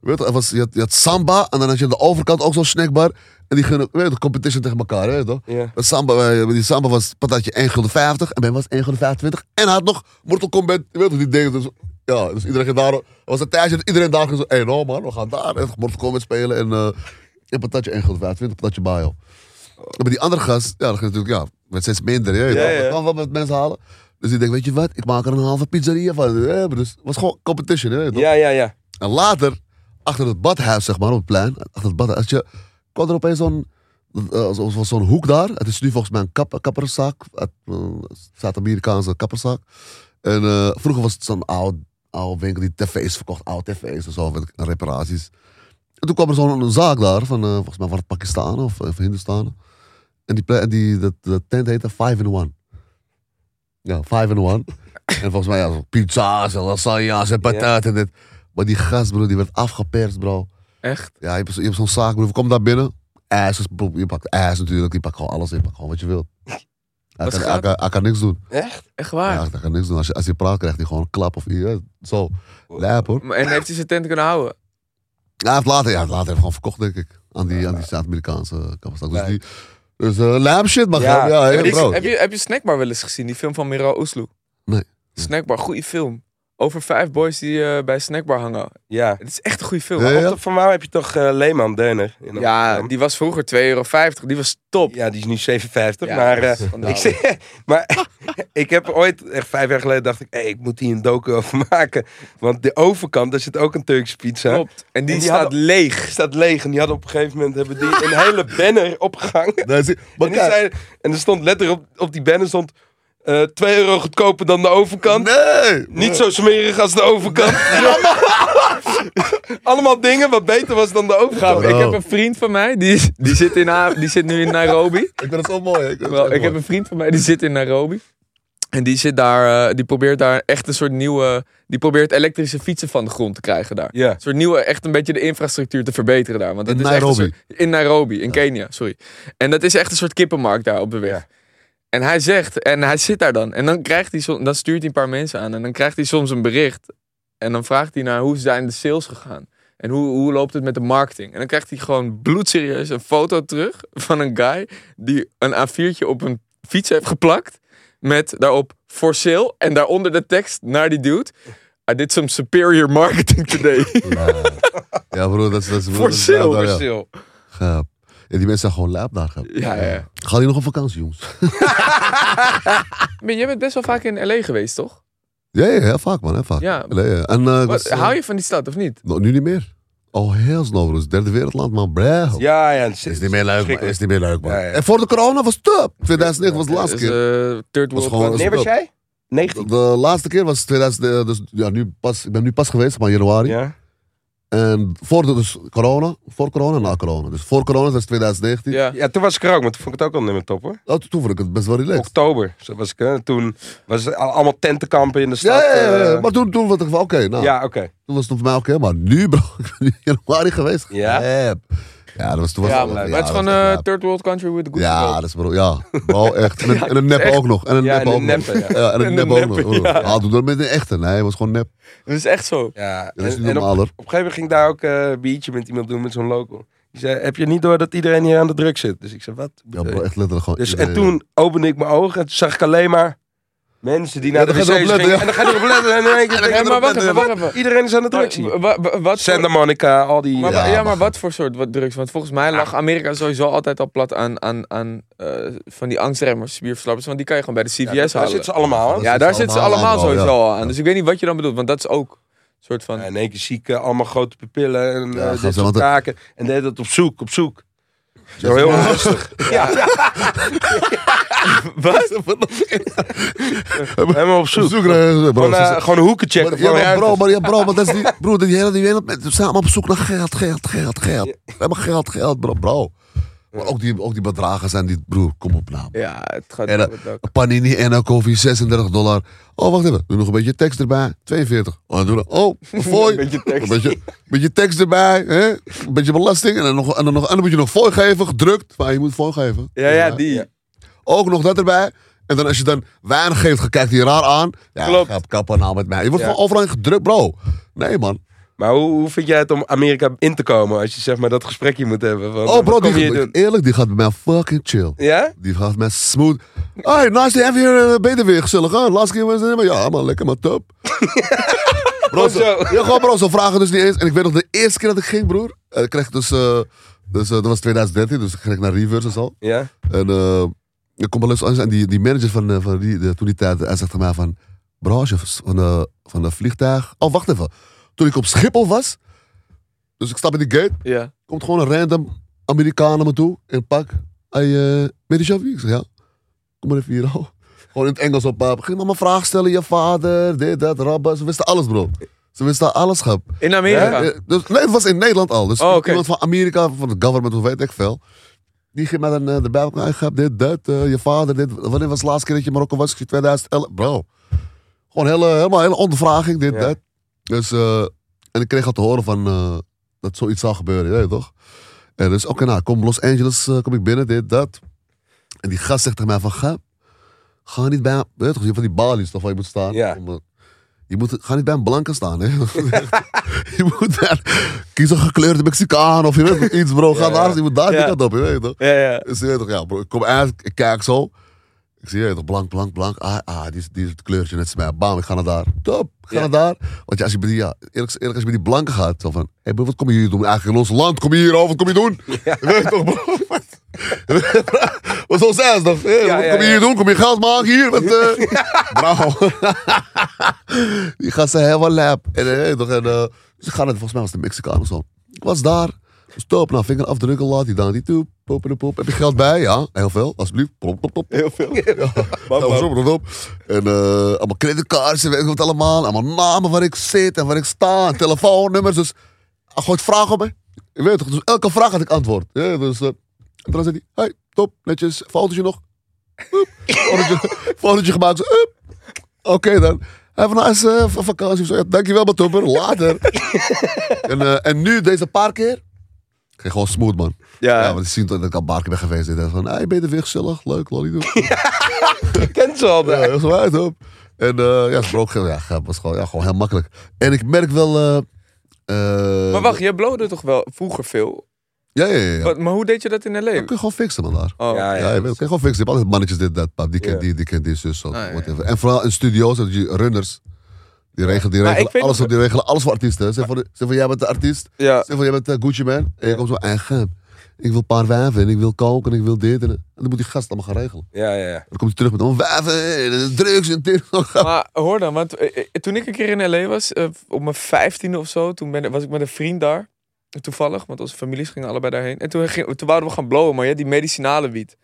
S2: Weet je, er was, je, had, je had Samba en dan had je aan de overkant ook zo'n snackbar. En die gingen, weet je, de competition tegen elkaar, weet je toch?
S5: Ja.
S2: Dat Samba, eh, die Samba was patatje 1,50 en bij mij was 1,25 En hij had nog Mortal Kombat, je weet toch, die dingen. Dus, ja, dus iedereen ging daar, er was een tijdje dat iedereen daar ging zo, hé hey, no man, we gaan daar echt Mortal Kombat spelen en... eh, een patatje 1 gulden 25, een patatje baal. Maar die andere gast, ja, dat ging natuurlijk, ja, werd steeds minder. Je weet
S5: Ja,
S2: wel.
S5: ja.
S2: Dat kan wel met mensen halen. Dus ik denk, weet je wat, ik maak er een halve pizzeria van. hè, Dus het was gewoon competition. Hè,
S5: Ja, ja, ja.
S2: en later, achter het badhuis, zeg maar, op het plein, achter het badhuis, je, kwam er opeens zo'n eh, zo- zo- zo'n hoek daar. Het is nu volgens mij een kap, kapperszaak, uit, eh, Zuid-Amerikaanse kapperszaak. En eh, vroeger was het zo'n oude, oude winkel die tv's verkocht, oude tv's en zo, weet ik, en reparaties. En toen kwam er zo'n zaak daar, van, eh, volgens mij van Pakistanen of, eh, van Hindustanen. En die, ple- en die dat, dat tent heette Five in One. Ja, Five in One. en volgens mij ja, zo pizza's en lasagna's en patat en dit. Maar die gast, bro, die werd afgeperst, bro.
S1: Echt?
S2: Ja, je hebt, zo- je hebt zo'n zaak, bro. Kom daar binnen. Ass, is- je pakt ass natuurlijk. Je pakt gewoon alles in. Je pakt gewoon wat je wilt. Hij
S1: Wat
S2: kan,
S1: gaat? Ah.
S2: hij, kan, hij kan niks doen.
S5: Echt?
S1: Echt waar?
S2: Ja, hij kan niks doen. Als je, als je praat, krijgt hij gewoon een klap of ja, zo. Lijp, hoor.
S1: Maar- En heeft hij zijn tent kunnen houden?
S2: Ja, het later, ja, het later heeft gewoon verkocht, denk ik. Aan die, aan die Zuid-Amerikaanse kapperstak. Dus, die, dus eh, lijp shit, maar ja,
S5: Ja.
S2: ja,
S1: Heb
S2: ja, bro.
S1: je, heb, je, heb je Snackbar wel eens gezien? Die film van Miro Oesloe?
S2: Nee.
S1: Snackbar, goede film. Over vijf boys die eh, bij Snackbar hangen.
S5: Ja.
S1: Het is echt een goede film.
S2: Ja,
S5: Maar
S2: ja.
S5: op de- van waar heb je toch eh, Leeman Deuner? in
S1: Ja,
S5: Amsterdam?
S1: die was vroeger 2,50 euro. Die was top.
S5: ja, die is nu 57.
S1: Ja,
S5: maar
S1: dat is nou
S5: eh,
S1: schandalig.
S5: ik, zeg- <laughs> maar ik heb ooit, echt vijf jaar geleden, dacht ik... Hey, ik moet hier een docu over <laughs> maken. Want de overkant, daar zit ook een Turkse pizza.
S1: Klopt. En die,
S5: En die
S1: staat
S5: hadden-
S1: leeg.
S5: Die staat leeg. En die hadden op een gegeven moment hebben die een hele banner opgehangen.
S2: Nee, zie- maar
S5: En, die
S2: kijk,
S5: zeiden- en er stond letterlijk op, op die banner stond... eh 2 euro goedkoper dan de overkant.
S2: Nee!
S5: Niet zo smerig als de overkant. <laughs> Allemaal <laughs> dingen wat beter was dan de overkant.
S1: Gaaf. Ik
S2: Wow.
S1: heb een vriend van mij, die, die, zit, in, Ha- die zit nu in <laughs> Nairobi.
S2: Ik vind het zo mooi. hè. Ik, vind het
S1: Wel,
S2: echt
S1: ik heb
S2: mooi.
S1: een vriend van mij die zit in Nairobi. En die zit daar, eh, die probeert daar echt een soort nieuwe. Die probeert elektrische fietsen van de grond te krijgen daar.
S5: Ja.
S1: Een soort nieuwe, echt een beetje de infrastructuur te verbeteren daar. Want
S2: In
S1: het is echt een
S2: Nairobi?
S1: soort- in Nairobi, in Kenia, sorry. En dat is echt een soort kippenmarkt daar op de weg. En hij zegt, en hij zit daar dan. En dan, krijgt hij, som- dan stuurt hij een paar mensen aan. En dan krijgt hij soms een bericht. En dan vraagt hij naar hoe zijn de sales gegaan. En hoe, hoe loopt het met de marketing? En dan krijgt hij gewoon bloedserieus een foto terug van een guy die een A4'tje op een fiets heeft geplakt. Met daarop for sale. En daaronder de tekst naar die dude. I did some superior marketing
S2: <laughs>
S1: today.
S2: Ja, broer, dat is... dat is-
S1: For
S2: dat is-
S1: sale,
S2: ja,
S1: for
S2: ja.
S5: Sil.
S2: Gaap. Ja, die mensen zijn gewoon lijp daar. gaap.
S1: ja, ja.
S2: Gaan die nog op vakantie, jongens?
S1: Maar jij bent best wel vaak in L.A. geweest, toch?
S2: Ja, ja, ja, vaak man, hè, vaak.
S1: Ja.
S2: Nee, ja. En, eh, ik was,
S1: Wat,
S2: eh,
S1: hou je van die stad of niet?
S2: nou, nu niet meer. Oh, heel snel, broer. Het is Derde wereldland, man. Bro.
S5: Ja, ja.
S2: Is niet meer leuk, man. Is niet meer leuk, man.
S5: Ja, ja.
S2: En voor de corona was het top. 2009 was de laatste
S1: Dus,
S2: keer.
S1: eh, third
S2: Was
S1: world
S2: gewoon-
S1: country.
S5: Wanneer was jij? 19.
S2: De laatste keer was 2000, eh, dus ja, nu pas, ik ben nu pas geweest, maar in januari.
S5: Ja.
S2: En voor de, dus corona, voor corona en na corona. Dus voor corona, dat is 2019.
S1: Ja.
S5: ja, toen was ik er ook, maar toen vond ik het ook al nummer top hoor.
S2: Oh, toen vond ik het best wel
S1: Oh,
S2: relaxed.
S5: Oktober zo was ik, hè. toen was het al- allemaal tentenkampen in de stad.
S2: Ja, ja, ja, ja.
S5: eh,
S2: maar toen, toen was ik van, oké, nou.
S5: ja, oké.
S2: Toen was het voor mij oké, maar nu, bro, <laughs> ik ben nu in januari geweest.
S5: Ja?
S2: Yep. Ja, dat was toen was
S1: Ja,
S2: het-
S1: maar
S2: ja,
S1: het is
S2: dat was
S1: gewoon
S2: echt
S1: eh,
S2: lijp.
S1: third world country with a good
S2: Ja,
S1: people.
S2: dat is bro. Ja, bro, echt. En een, en een nep
S1: echt.
S2: ook nog. En een
S5: Ja,
S2: nep
S5: en
S2: ook
S5: een
S2: nog.
S5: neppe,
S2: Ja, en een
S1: En
S2: nep
S1: een
S2: ook nog.
S1: neppe, ja.
S2: Ah, doe dat met een echte. Nee, het was gewoon nep.
S1: Dat is echt zo.
S5: Ja,
S2: Dat is
S5: en-
S2: niet
S5: en op,
S2: normaal hoor.
S5: op een gegeven moment ging ik daar ook eh, een biertje met iemand doen, met zo'n local. Die zei, heb je niet door dat iedereen hier aan de druk zit? Dus ik zei, wat?
S2: Ja, bro, echt letterlijk gewoon.
S5: dus, en
S2: iedereen.
S5: toen opende ik mijn ogen en toen zag ik alleen maar mensen die
S2: Ja,
S5: naar de
S2: dan ga je
S5: wc's
S2: erop
S5: gingen.
S2: letten, ja.
S5: En dan ga je erop letten <laughs> en dan denk ik,
S1: Hey, maar wacht even, wacht even.
S5: iedereen is aan de druk
S1: Eh,
S5: zien.
S1: wa- wa- wat voor-
S5: Santa Monica, al die...
S1: Maar,
S2: Ja,
S1: wa- ja, maar
S2: maar-
S1: wat voor soort wat drugs? Want volgens mij lag Amerika sowieso altijd al plat aan, aan, aan eh, van die angstremmers, bierverslappers. Want die kan je gewoon bij de CVS
S5: Ja, daar
S1: halen.
S5: zitten ze allemaal. hè.
S2: Ja,
S1: ja, daar
S2: zitten
S1: zitten
S2: ze
S1: ze allemaal
S2: allemaal
S1: sowieso
S2: aan, ja.
S1: al aan. Dus ik weet niet wat je dan bedoelt, want dat is ook een soort van...
S5: Ja, in één keer ziek, eh, allemaal grote pupillen en
S2: Ja,
S5: eh,
S2: gaan
S5: dit
S2: ze,
S5: soort
S2: want het-
S5: taken. En deed dat op zoek, op zoek. Zo heel
S2: <laughs>
S5: onrustig. Ja. Wat? Helemaal op
S2: Zoek,
S5: zoek.
S2: zoek, eh, bro.
S5: Gewoon, eh,
S2: ze-
S5: gewoon hoeken checken.
S2: maar, ja,
S5: van
S2: maar
S5: ruimte.
S2: bro, maar, ja, bro, maar dat is die, bro, die hele die wereld met samen op zoek naar geld, geld, geld, geld. We hebben geld, geld, bro, bro. Maar ook die, ook die bedragen zijn die, broer, kom op nou.
S1: Ja, het gaat...
S2: En, eh,
S1: het ook.
S2: Een panini en een koffie, 36 dollar. Oh, wacht even. Doe nog een beetje tekst erbij. 42. Oh, doe dat.
S1: <laughs>
S2: Oh, een fooi.
S1: Beetje tekst.
S2: Een beetje, een beetje tekst erbij. Hè? Een beetje belasting. En dan, nog, en, dan nog, en dan moet je nog fooi geven, gedrukt. Maar je moet fooi geven.
S1: ja, ja, die.
S2: Ook nog dat erbij. En dan als je dan weinig geeft, kijkt hij je raar aan. Ja,
S1: Klopt.
S2: Kap, kappen nou met mij. Je wordt
S5: Ja.
S2: gewoon overal in gedrukt, bro. Nee, man.
S5: Maar hoe, hoe vind jij het om Amerika in te komen als je zeg maar dat gesprekje moet hebben? Van,
S2: Oh, bro,
S5: wat kom je
S2: die,
S5: hier doen?
S2: eerlijk, die gaat bij mij fucking chill.
S5: Ja?
S2: Die gaat met smooth. Hey, nice to have you here. eh, Ben je er weer gezellig? Hè? Last keer was het maar ja, man, lekker maar top. bro,
S5: Gewoon
S2: ze,
S5: zo.
S2: ja, gewoon bro, ze vragen dus niet eens. En ik weet nog de eerste keer dat ik ging, broer, eh, kreeg ik dus eh, Dus eh, dat was 2013, dus ik ging naar Reverse en zo.
S5: Ja?
S2: En eh ik kom bij Los Angeles en die, die manager van, eh, van die, de, toen die tijd, hij zegt tegen mij van... Bro, als je van, de, van de vliegtuig... Oh, wacht even. Toen ik op Schiphol was, dus ik stap in die gate,
S1: Ja.
S2: komt gewoon een random Amerikaan naar me toe in een pak. Hij, eh weet je zelf wie? Ik zeg, ja. Kom maar even hier, <laughs> oh. Gewoon in het Engels op. eh, Begin maar een vraag stellen, je vader, dit, dat, rabba. Ze wisten alles, bro. Ze wisten alles, grap.
S1: In Amerika.
S2: Eh, Dus, nee, het was in Nederland al. Dus
S1: Oh, oké.
S2: iemand van Amerika, van het government, of weet ik veel. Die ging met een eh, erbij. op, nou, ik heb dit, dat, eh, je vader, dit. Wanneer was de laatste keer dat je in Marokko was? Ik zeg, 2011. Bro. Gewoon hele, helemaal hele ondervraging, dit,
S5: Ja.
S2: dat. Dus, eh, en ik kreeg al te horen van, eh, dat zoiets zou gebeuren, je weet toch? En dus, oké, nou, kom Los Angeles, eh, kom ik binnen, dit, dat. En die gast zegt tegen mij van, ga, ga niet bij, weet je toch, je hebt van die balies toch waar je moet staan.
S5: Ja.
S2: Om, eh, je moet, ga niet bij een blanke staan, hè. <laughs> je moet daar, kies een gekleurde Mexicaan of je weet toch iets, bro. Ga
S5: Ja, ja.
S2: daar, je moet daar die
S1: Ja.
S2: kant op, je weet toch.
S1: Ja, ja.
S2: Dus je weet toch, ja, bro, ik kom uit, ik kijk zo. Ik zie, je weet toch, blank, blank, blank. Ah, ah die, is, die is het kleurtje net als mij. Bam, ik ga naar daar. Top, ik ga
S5: Ja.
S2: naar daar. Want ja, als je bij die, ja, eerlijk, eerlijk, als je bij die blanken gaat, zo van... Hé, hey, bro, wat kom je hier doen? Eigenlijk in ons land, kom je hier over, wat kom je doen? Je <laughs> Weet toch, bro? Wat- Wat zo zijn ze toch? Hé,
S5: Ja,
S2: wat
S5: ja,
S2: kom je
S5: ja.
S2: hier doen? Kom je geld maken hier? Met,
S5: <laughs>
S2: eh Bro. <laughs> die gaan ze helemaal lap. En, eh, hey, toch, en, eh, ze gaan het, volgens mij was het een Mexicaan of zo. Ik was daar. Stop, nou, vingerafdrukken, laat die dan, die toe. Pop, pop, pop. Heb je geld bij? Ja, heel veel, alsjeblieft. Plop, plop, plop. Heel
S5: <laughs>
S2: veel. Ja. Nou,
S5: bam.
S2: zo, plop, plop. En eh, allemaal creditcards, en weet ik wat allemaal. Allemaal namen waar ik zit en waar ik sta. en Telefoonnummers, dus... Hij gooit vragen op me. Je weet toch, dus elke vraag had ik antwoord. Ja, dus, eh, en dan zei hij, hey, top, netjes, fotootje nog. Hup. Fotootje, <laughs> fotootje gemaakt, zo, hup. Oké dan. Hij van, nou, is eh, v- vakantie of zo. Ja, dankjewel, Batopper. Later. en, eh, en nu, deze paar keer, ging gewoon smooth, man.
S5: Eh.
S2: Ja, want ze zien dat ik al een paar keer ben geweest. En dacht van, hey, ben je er weer gezellig? Leuk, lolly doen.
S5: Ik ken ze al.
S2: Ja, dat is waar, top. En eh, ja, het was ook ja, grap, was gewoon, ja, gewoon heel makkelijk. En ik merk wel... eh, eh,
S1: Maar wacht, jij blowde toch wel vroeger veel?
S2: Ja, ja, ja. ja.
S1: Wat- maar hoe deed je dat in L.A.?
S2: Dat kun je gewoon fixen, man, daar.
S1: Oh.
S5: Ja,
S2: Ja, je weet, kan je gewoon fixen. Je hebt altijd mannetjes dit, dat, pap. Die kent
S5: Ja.
S2: die, die kent die, zus, zo,
S1: Ah, ja,
S2: whatever. En vooral in studio's, dat je runners. Die regelen, die
S1: Maar
S2: regelen,
S1: ik weet
S2: alles,
S1: nog-
S2: op, die regelen alles voor artiesten. hè. Zeg van, zeg van, jij bent de artiest. <laughs>
S1: Ja.
S2: Zeg van, jij bent eh, Gucci Man. En je komt zo, en gem. Ik wil een paar wijven en ik wil koken en ik wil dit. En, en dan moet die gast allemaal gaan regelen.
S5: Ja, ja, ja.
S2: Dan komt hij terug met, oh, wijven, en drugs en dit. <laughs>
S1: Maar hoor dan, want eh, eh, toen ik een keer in L.A. was, eh, op mijn vijftiende of zo, toen ben, was ik met een vriend daar. Toevallig, want onze families gingen allebei daarheen. En toen, ging, toen wouden we gaan blowen, maar je had die medicinale wiet.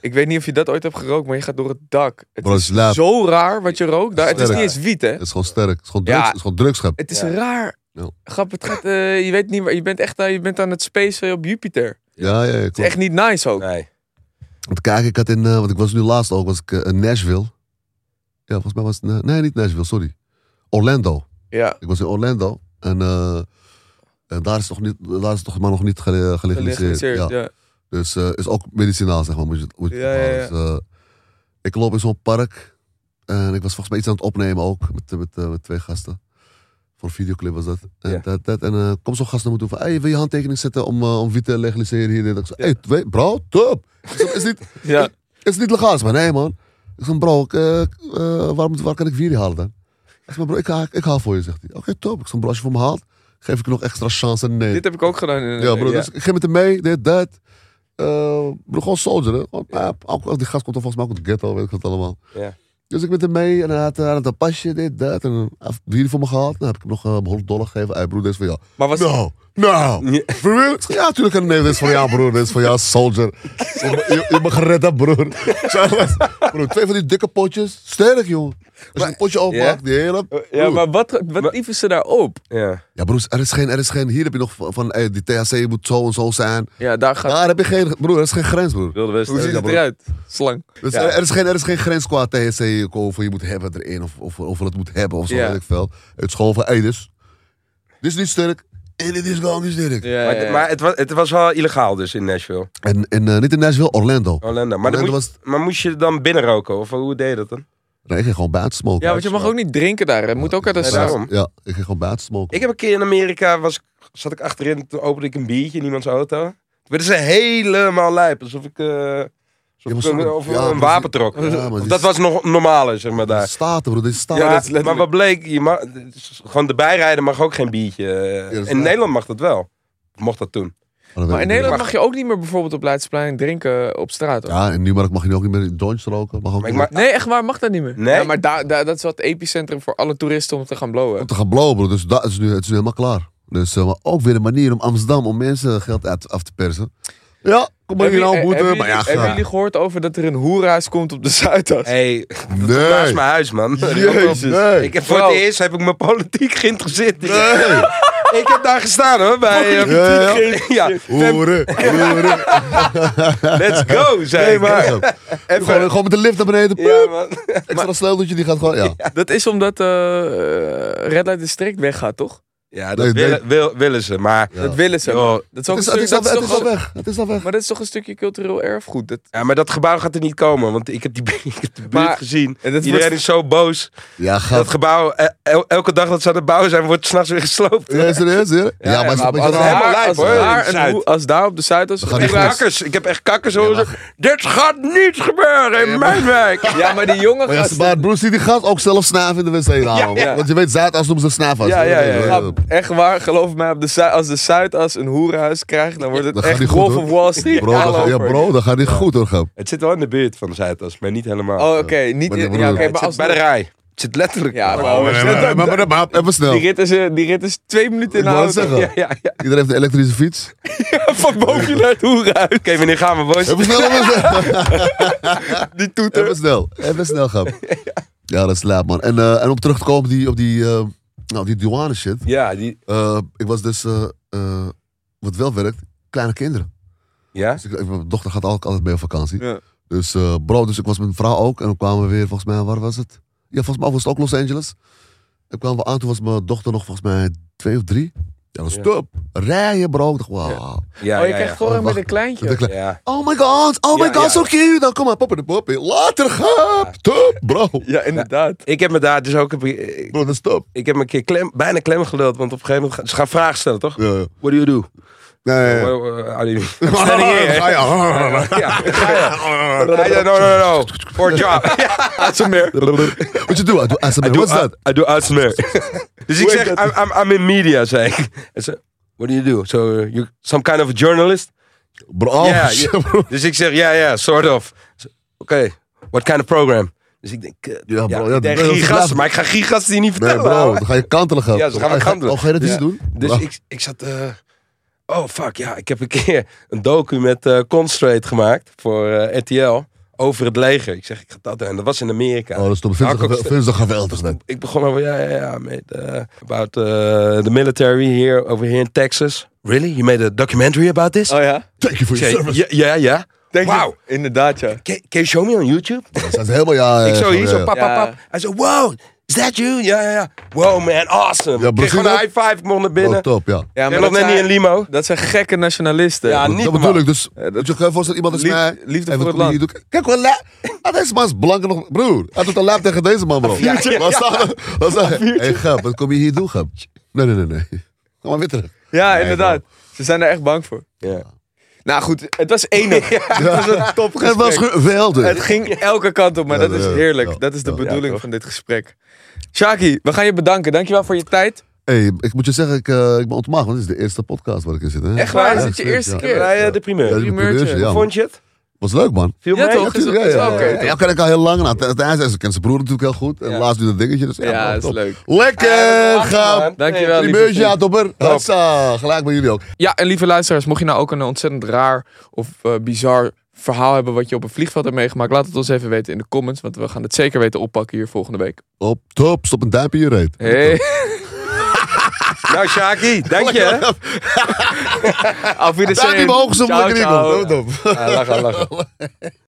S1: Ik weet niet of je dat ooit hebt gerookt, maar je gaat door het dak. Het
S2: Bro,
S1: is
S2: slaap.
S1: zo raar wat je rookt. Daar, het is niet
S2: Sterk.
S1: eens wiet, hè?
S2: Het is gewoon sterk. Het is gewoon
S1: Ja.
S2: drugs. Het is gewoon drugs, gep.
S1: Het is
S5: Ja.
S1: raar.
S2: Ja.
S1: Grap, het gaat, eh, je weet niet waar. Je bent echt aan, je bent aan het spacen op Jupiter. Het
S2: Ja, ja, ja,
S1: is
S2: klopt.
S1: echt niet nice ook.
S5: Nee.
S2: Want kijk, ik had in, eh, want ik was nu laatst ook, was ik eh, in Nashville. Ja, volgens mij was het, eh, nee, niet Nashville, sorry. Orlando.
S1: Ja.
S2: Ik was in Orlando en, eh, en daar is toch niet, daar is toch maar nog niet gele- gelegaliseerd.
S1: Gelegaliseerd,
S2: Ja.
S1: ja.
S2: Dus eh, is ook medicinaal, zeg maar. Moet je, moet je
S1: Ja, ja, ja.
S2: Dus, eh, ik loop in zo'n park en ik was volgens mij iets aan het opnemen ook met, met, eh, met twee gasten. Voor een videoclip was dat. En,
S5: Ja.
S2: dat, dat, en eh, kom zo'n gast naar me toe van, hey, wil je handtekening zetten om, eh, om wiet te legaliseren hier? En ik zei, hey, twee- bro, top. Ik zei, is niet,
S1: Ja.
S2: is niet legaal, maar nee man. Ik zeg, bro, ik, eh, eh, waar, moet- waar kan ik wier halen dan? Hij zegt, maar bro, ik, haal- ik haal voor je, zegt hij. Oké, top. Ik zeg, bro, als je voor me haalt, geef ik je nog extra chance. En nee.
S1: Dit heb ik ook gedaan. In
S2: Ja, bro,
S1: ja.
S2: dus ik ging met hem mee, dit, dat. Eh bro, gewoon soldier, hè. Gewoon, paap. Ook- ook die gast komt dan volgens mij ook uit de ghetto, weet ik wat allemaal.
S5: Ja.
S2: Dus ik met hem mee en hij had, hij had een pasje, dit, dat. En hij heeft bier voor me gehaald. Dan heb ik hem nog eh, 100 dollar gegeven. Hij broer, dit is voor jou.
S1: Maar was,
S2: Nou, nou.
S5: Ja.
S2: Voor real? Ik zeg, Ja, natuurlijk. Nee, dit is voor jou, broer. Dit is voor jou, soldier. Je, je, je mag gered hebben, broer. Zo was- broer. Twee van die dikke potjes. Sterk, jongen. Als je een potje opmaakt, die hele...
S1: ja,
S2: broer.
S1: maar wat, wat lieven ze daarop?
S5: Ja.
S2: Ja, broer, er is geen... Er is geen hier heb je nog van, van eh, die THC moet zo en zo zijn.
S1: Ja, daar gaat.
S2: Daar heb je geen... Broer, er is geen grens, broer.
S5: Wilde Westen.
S1: Hoe ziet
S2: ja,
S1: het
S2: bro.
S1: eruit? Slang.
S2: Dus
S5: Ja.
S2: er, er is geen, er is geen grens qua THC, hoeveel je moet hebben erin, of, of hoeveel het moet hebben, of zo,
S1: Ja.
S2: weet ik veel. Het is gewoon van, hey, dus, dit is niet sterk, en dit is gewoon niet sterk.
S1: Ja,
S5: Maar,
S1: ja, ja.
S5: het, maar het, was, het was wel illegaal dus in Nashville.
S2: En, en eh, niet in Nashville,
S1: Oh,
S2: Orlando.
S5: Orlando. Maar, dan
S2: Orlando
S5: moest, maar moest je dan binnen roken? Of hoe deed je dat dan?
S2: Nee, ik ging gewoon buiten smoken.
S1: ja, want je mag ook niet drinken daar. Het moet ook uit een
S5: Nee,
S1: straat.
S5: daarom.
S2: Ja, ik ging gewoon buiten smoken.
S5: Ik heb een keer in Amerika, was, ik- zat ik achterin, toen opende ik een biertje in iemands auto. Toen werden ze helemaal lijp, alsof ik, eh,
S2: Ja, maar
S5: alsof ik een,
S2: zo-
S5: of
S2: ja,
S5: een
S2: maar
S5: wapen
S2: die-
S5: trok.
S2: ja, maar
S5: Of
S2: die-
S5: dat was nog normaler, zeg maar, daar.
S2: Staten, bro, dit is staten. Oh,
S5: Ja,
S2: Ja,
S5: maar wat bleek, je mag, gewoon de bijrijder mag ook geen biertje. eh.
S2: dat is
S5: in
S2: waar.
S5: Nederland mag dat wel. Mocht dat toen.
S2: dan
S1: Maar
S2: weet
S1: in
S2: ik
S1: Nederland
S2: niet.
S1: mag je ook niet meer bijvoorbeeld op Leidseplein drinken eh, op straat. hoor.
S2: Ja, in Nieuwmarkt mag je nu ook niet meer in joints roken. Mag ook
S5: Maar
S2: niet
S5: ik
S2: meer
S5: maak-
S1: Nee, echt waar, mag dat niet meer.
S5: Nee?
S1: Ja, maar da, da- dat is wel het epicentrum voor alle toeristen om te gaan blowen.
S2: om te gaan blowen. bro. Dus dat is nu, het is nu helemaal klaar. Dus eh, maar ook weer een manier om Amsterdam, om mensen geld uit, af te persen. Ja, kom maar
S1: Hebben
S2: hier nou,
S1: jullie-
S2: boete.
S1: hebben
S2: Maar ja,
S1: jullie- Hebben
S2: ga.
S1: jullie gehoord over dat er een hoerhuis komt op de <laughs> Zuidas?
S5: Hey, naast
S2: Nee.
S5: mijn huis, man.
S1: Jezus.
S2: Nee.
S5: Ik heb voor
S1: Bro.
S5: het eerst heb ik me politiek geïnteresseerd.
S2: Nee.
S5: Ik heb daar gestaan hoor, bij... eh,
S2: Ja, ja.
S5: <laughs> ja,
S2: Hoeren, hoeren.
S5: let's go, zei
S2: Nee,
S5: ik.
S2: maar. Gewoon, gewoon met de lift naar beneden.
S5: Ja,
S2: Ja,
S5: man.
S2: Extra sleuteltje, die gaat gewoon. Ja.
S1: Dat is omdat eh eh, Red Light District weggaat, toch?
S5: Ja, dat
S2: Nee, nee.
S5: willen, wil- willen ze, maar...
S2: Ja.
S1: Dat willen ze.
S5: Joh.
S1: Dat is ook
S2: Het is,
S1: een
S2: het is,
S1: stuk-
S2: al,
S1: dat
S2: het
S1: is
S2: is
S1: toch
S2: al weg. Het is al weg.
S1: Maar dat is toch een stukje cultureel erfgoed? Dat,
S5: Ja, maar dat gebouw gaat er niet komen, want ik heb die, <laughs> ik heb die buurt
S1: Maar-
S5: gezien.
S1: en dat
S5: Iedereen
S1: wordt-
S5: is zo boos.
S2: Ja, gaat.
S5: Dat gebouw, eh, el- elke dag dat ze aan het bouwen zijn, wordt s'nachts weer gesloopt.
S2: Ja, serieus, hè? Ja, maar het is
S1: als,
S2: een
S5: helemaal
S1: daar,
S5: lijp,
S1: als,
S5: hoor, in
S1: daar
S5: het
S1: een
S5: Zuid.
S1: hoe- als daar op de Zuidas...
S2: gaan
S5: Echt
S2: die
S1: Ja,
S5: kakkers. Ik heb echt kakkers
S2: Ja,
S5: horen
S2: maar-
S5: zeggen, Dit gaat niet gebeuren in mijn wijk.
S1: <laughs> Ja, maar die jongen
S2: Maar, ja,
S1: gasten...
S2: maar Bruce die gaat ook zelf snaven in de wc halen.
S1: ja.
S2: Want je weet, Zuidas noemen ze snaven.
S1: Ja, ja, ja. Grap. Echt waar, geloof mij, op de Zuid- als de Zuidas een hoerenhuis krijgt, dan wordt het
S2: Dat gaat
S1: echt
S2: niet goed,
S1: Wolf
S2: hoor.
S1: of Wall Street.
S2: Bro,
S1: all
S2: dat, gaat- ja,
S1: over.
S2: bro, dat gaat niet goed hoor, grap.
S5: Het zit wel in de buurt van de Zuidas, maar niet helemaal.
S1: Oh, oké, niet...
S2: Maar
S1: in-
S2: dat bedoel
S1: ja,
S2: ik.
S1: oké,
S2: Het
S1: maar
S5: het
S1: als...
S5: zit bij de rij. Het zit letterlijk.
S1: Ja, maar-
S5: Oh,
S1: maar- maar-
S2: Maar- maar- maar- Even snel.
S1: Die rit is, eh, die rit is twee minuten
S2: Ik
S1: in de
S2: wou het
S1: auto.
S2: zeggen.
S1: Ja, ja, <laughs>
S2: Iedereen heeft een elektrische fiets.
S1: ja. Van boven je naar het hoerenhuis.
S5: Oké, wanneer gaan we, boys?
S2: Even snel, even snel.
S1: Die toeter.
S2: Even snel. Even snel, grap. Ja, dat is laat, man. En, eh, en om terug te komen op die, op die, eh, nou, die douane shit.
S5: Ja, die...
S2: Eh, ik was dus, eh, eh, wat wel werkt, kleine kinderen.
S5: Ja?
S2: Dus ik, ik- mijn dochter gaat ook altijd mee op vakantie.
S1: Ja.
S2: Dus eh, bro, dus ik was met mijn vrouw ook. En dan kwamen we weer, volgens mij, waar was het? Ja, volgens mij was het ook Los Angeles. En kwamen we aan, toen was mijn dochter nog volgens mij twee of drie. Ja, dat is
S5: Ja.
S2: top. Rijden, bro. Ik dacht, wauw.
S5: Ja,
S1: Oh, je
S5: ja,
S1: krijgt
S5: ja.
S1: voorrang met
S2: Wacht.
S1: een kleintje.
S2: Dat ik-
S5: Ja.
S2: Oh my god, oh my
S5: Ja,
S2: god,
S5: ja.
S2: zo cute. Dan kom maar, poppie, poppie. Later, grap. Top, bro.
S1: Ja, inderdaad.
S5: Ik heb me daar dus ook... Ik
S2: Bro, dat is top.
S5: ik heb me een keer klem, bijna klem geduld, want op een gegeven moment... gaan- Ze gaan vragen stellen, toch?
S2: Ja, ja.
S5: What do you do?
S2: Nee, nee, nee.
S5: Well, uh, how <laughs> do you do?
S2: <laughs> Ga je.
S5: here. <laughs> Ja, I don't- no, no, no, no. For a <laughs> job. Asmer.
S2: Wat je doet? I do ASMR. What's that?
S5: I do <laughs> ASMR. dus ik zeg, I'm, I'm, I'm in media, zei ik. En ze, what do you do? So, uh, you some kind of a <laughs> journalist?
S2: Bro, oh, <laughs>
S5: Ja,
S2: shit,
S5: ja.
S2: bro.
S5: Dus ik zeg, ja, ja, sort of. Ze, Oké, what kind of program? Dus ik denk, kut.
S2: Ja,
S5: Ja,
S2: bro. Ja,
S5: ik denk
S2: dat is
S5: gigas,
S2: laat.
S5: maar ik ga gigas die niet
S2: Nee,
S5: vertellen.
S2: bro,
S5: ouwe.
S2: dan ga je kantelen gaan.
S5: Ja, ze gaan me
S2: Oh, ga-
S5: kantelen.
S2: Oh, ga je dat
S5: Ja.
S2: eens doen?
S5: Dus
S2: Bro.
S5: ik, ik zat. eh, oh fuck, ja. Ik heb een keer een docu met eh Constrate gemaakt voor eh, RTL. Over het leger. Ik zeg, ik ga dat doen. En dat was in Amerika.
S2: Oh, dat is toch
S5: Ja, ik ook-
S2: Vind ze geweldig, net.
S5: Ik begon over, ja, ja, ja. Mate, eh, about eh, the military here, over here in Texas. Really? You made a documentary about this?
S1: Oh ja?
S2: Thank you for
S5: Ik
S2: your
S5: zei,
S2: service.
S5: ja, ja, ja.
S1: Denk je-
S5: Wauw.
S1: Inderdaad, ja.
S5: Can, can you show me on YouTube?
S2: Dat zijn ze helemaal, ja.
S5: ik
S2: eh,
S5: zo
S2: gewoon,
S5: hier, zo
S2: ja.
S5: pap, pap,
S1: Ja.
S5: pap. Hij zo, wow, is that you? Ja, ja, ja. Wow, man, awesome.
S2: Ja,
S5: ik kreeg
S2: Brazil
S5: gewoon een
S2: ook.
S5: high five, ik mocht naar
S2: Oh,
S5: binnen.
S2: top, ja.
S1: ja
S5: en nog net
S1: zijn,
S5: niet in limo.
S1: dat zijn gekke nationalisten.
S5: Ja,
S2: Dat
S5: niet
S2: bedoel
S5: normaal.
S2: ik dus.
S1: Eh, dat-
S2: Moet je gewoon voorstellen, iemand is
S1: Lief-
S2: mij.
S1: liefde
S2: en
S1: voor
S2: wat
S1: het
S2: kom je hier doen? Kijk wel, la. Ah, deze man is blanker nog. Broer, hij doet een laap tegen deze man, bro.
S5: Ja, ja, ja.
S2: Wat staat er? Wat staat er? Hé, grap, wat kom je hier doen, grap? Nee, nee, nee, nee. Kom maar weer terug.
S1: Ja, inderdaad. Ze zijn er echt bang voor.
S5: Ja.
S1: Nou goed, het was <laughs> enig. Het was een
S2: Het was
S1: topgesprek. Het
S2: geweldig.
S1: ging elke kant op, maar
S2: Ja,
S1: dat is
S2: ja,
S1: heerlijk.
S2: ja.
S1: dat is de
S2: Ja.
S1: bedoeling van dit gesprek. Shaki, we gaan je bedanken. Dankjewel voor je tijd.
S2: Hé, ik moet je zeggen, ik, eh, ik ben ontmaagd, want dit is de eerste podcast waar ik in zit. Hè?
S1: Echt waar?
S2: Ja,
S1: Is dit je
S2: zeker,
S1: eerste
S2: ja.
S1: keer?
S5: Wij, eh,
S2: Ja.
S5: de primeur.
S2: Ja, dit is een
S1: Primeurtje.
S2: primeurtje, ja,
S5: Hoe
S2: man.
S5: vond je het?
S2: Was leuk, man.
S5: Viel
S1: Ja,
S5: mee?
S1: toch?
S2: Ja,
S1: Is- is
S2: ja,
S1: wel oké,
S2: ja.
S1: toch?
S2: Ja, ken ik al heel lang. Nou, ten- ten- hij- Ze kent zijn broer natuurlijk heel goed. En laatst nu dat dingetje. Dus, ja,
S1: Ja,
S2: man,
S1: is
S2: top.
S1: leuk.
S2: Lekker,
S5: man.
S2: grap.
S1: Dankjewel, lieve
S2: Primeurtje,
S1: vriend.
S2: ja, topper. Hatsa, gelijk bij jullie ook.
S1: Ja, en lieve luisteraars, mocht je nou ook een ontzettend raar of eh, bizar verhaal hebben wat je op een vliegveld hebt meegemaakt, laat het ons even weten in de comments, want we gaan het zeker weten oppakken hier volgende week.
S2: Op top, stop een duimpje in je reet.
S1: Hey, <laughs>
S5: Nou, Shaki, dank je. hè.
S1: auf Wiedersehen.
S2: Duimpje omhoog, zo
S1: Ciao,
S2: moet ik erin
S1: ciao.
S2: komen. Top, top.
S5: Ja, lachen, lachen.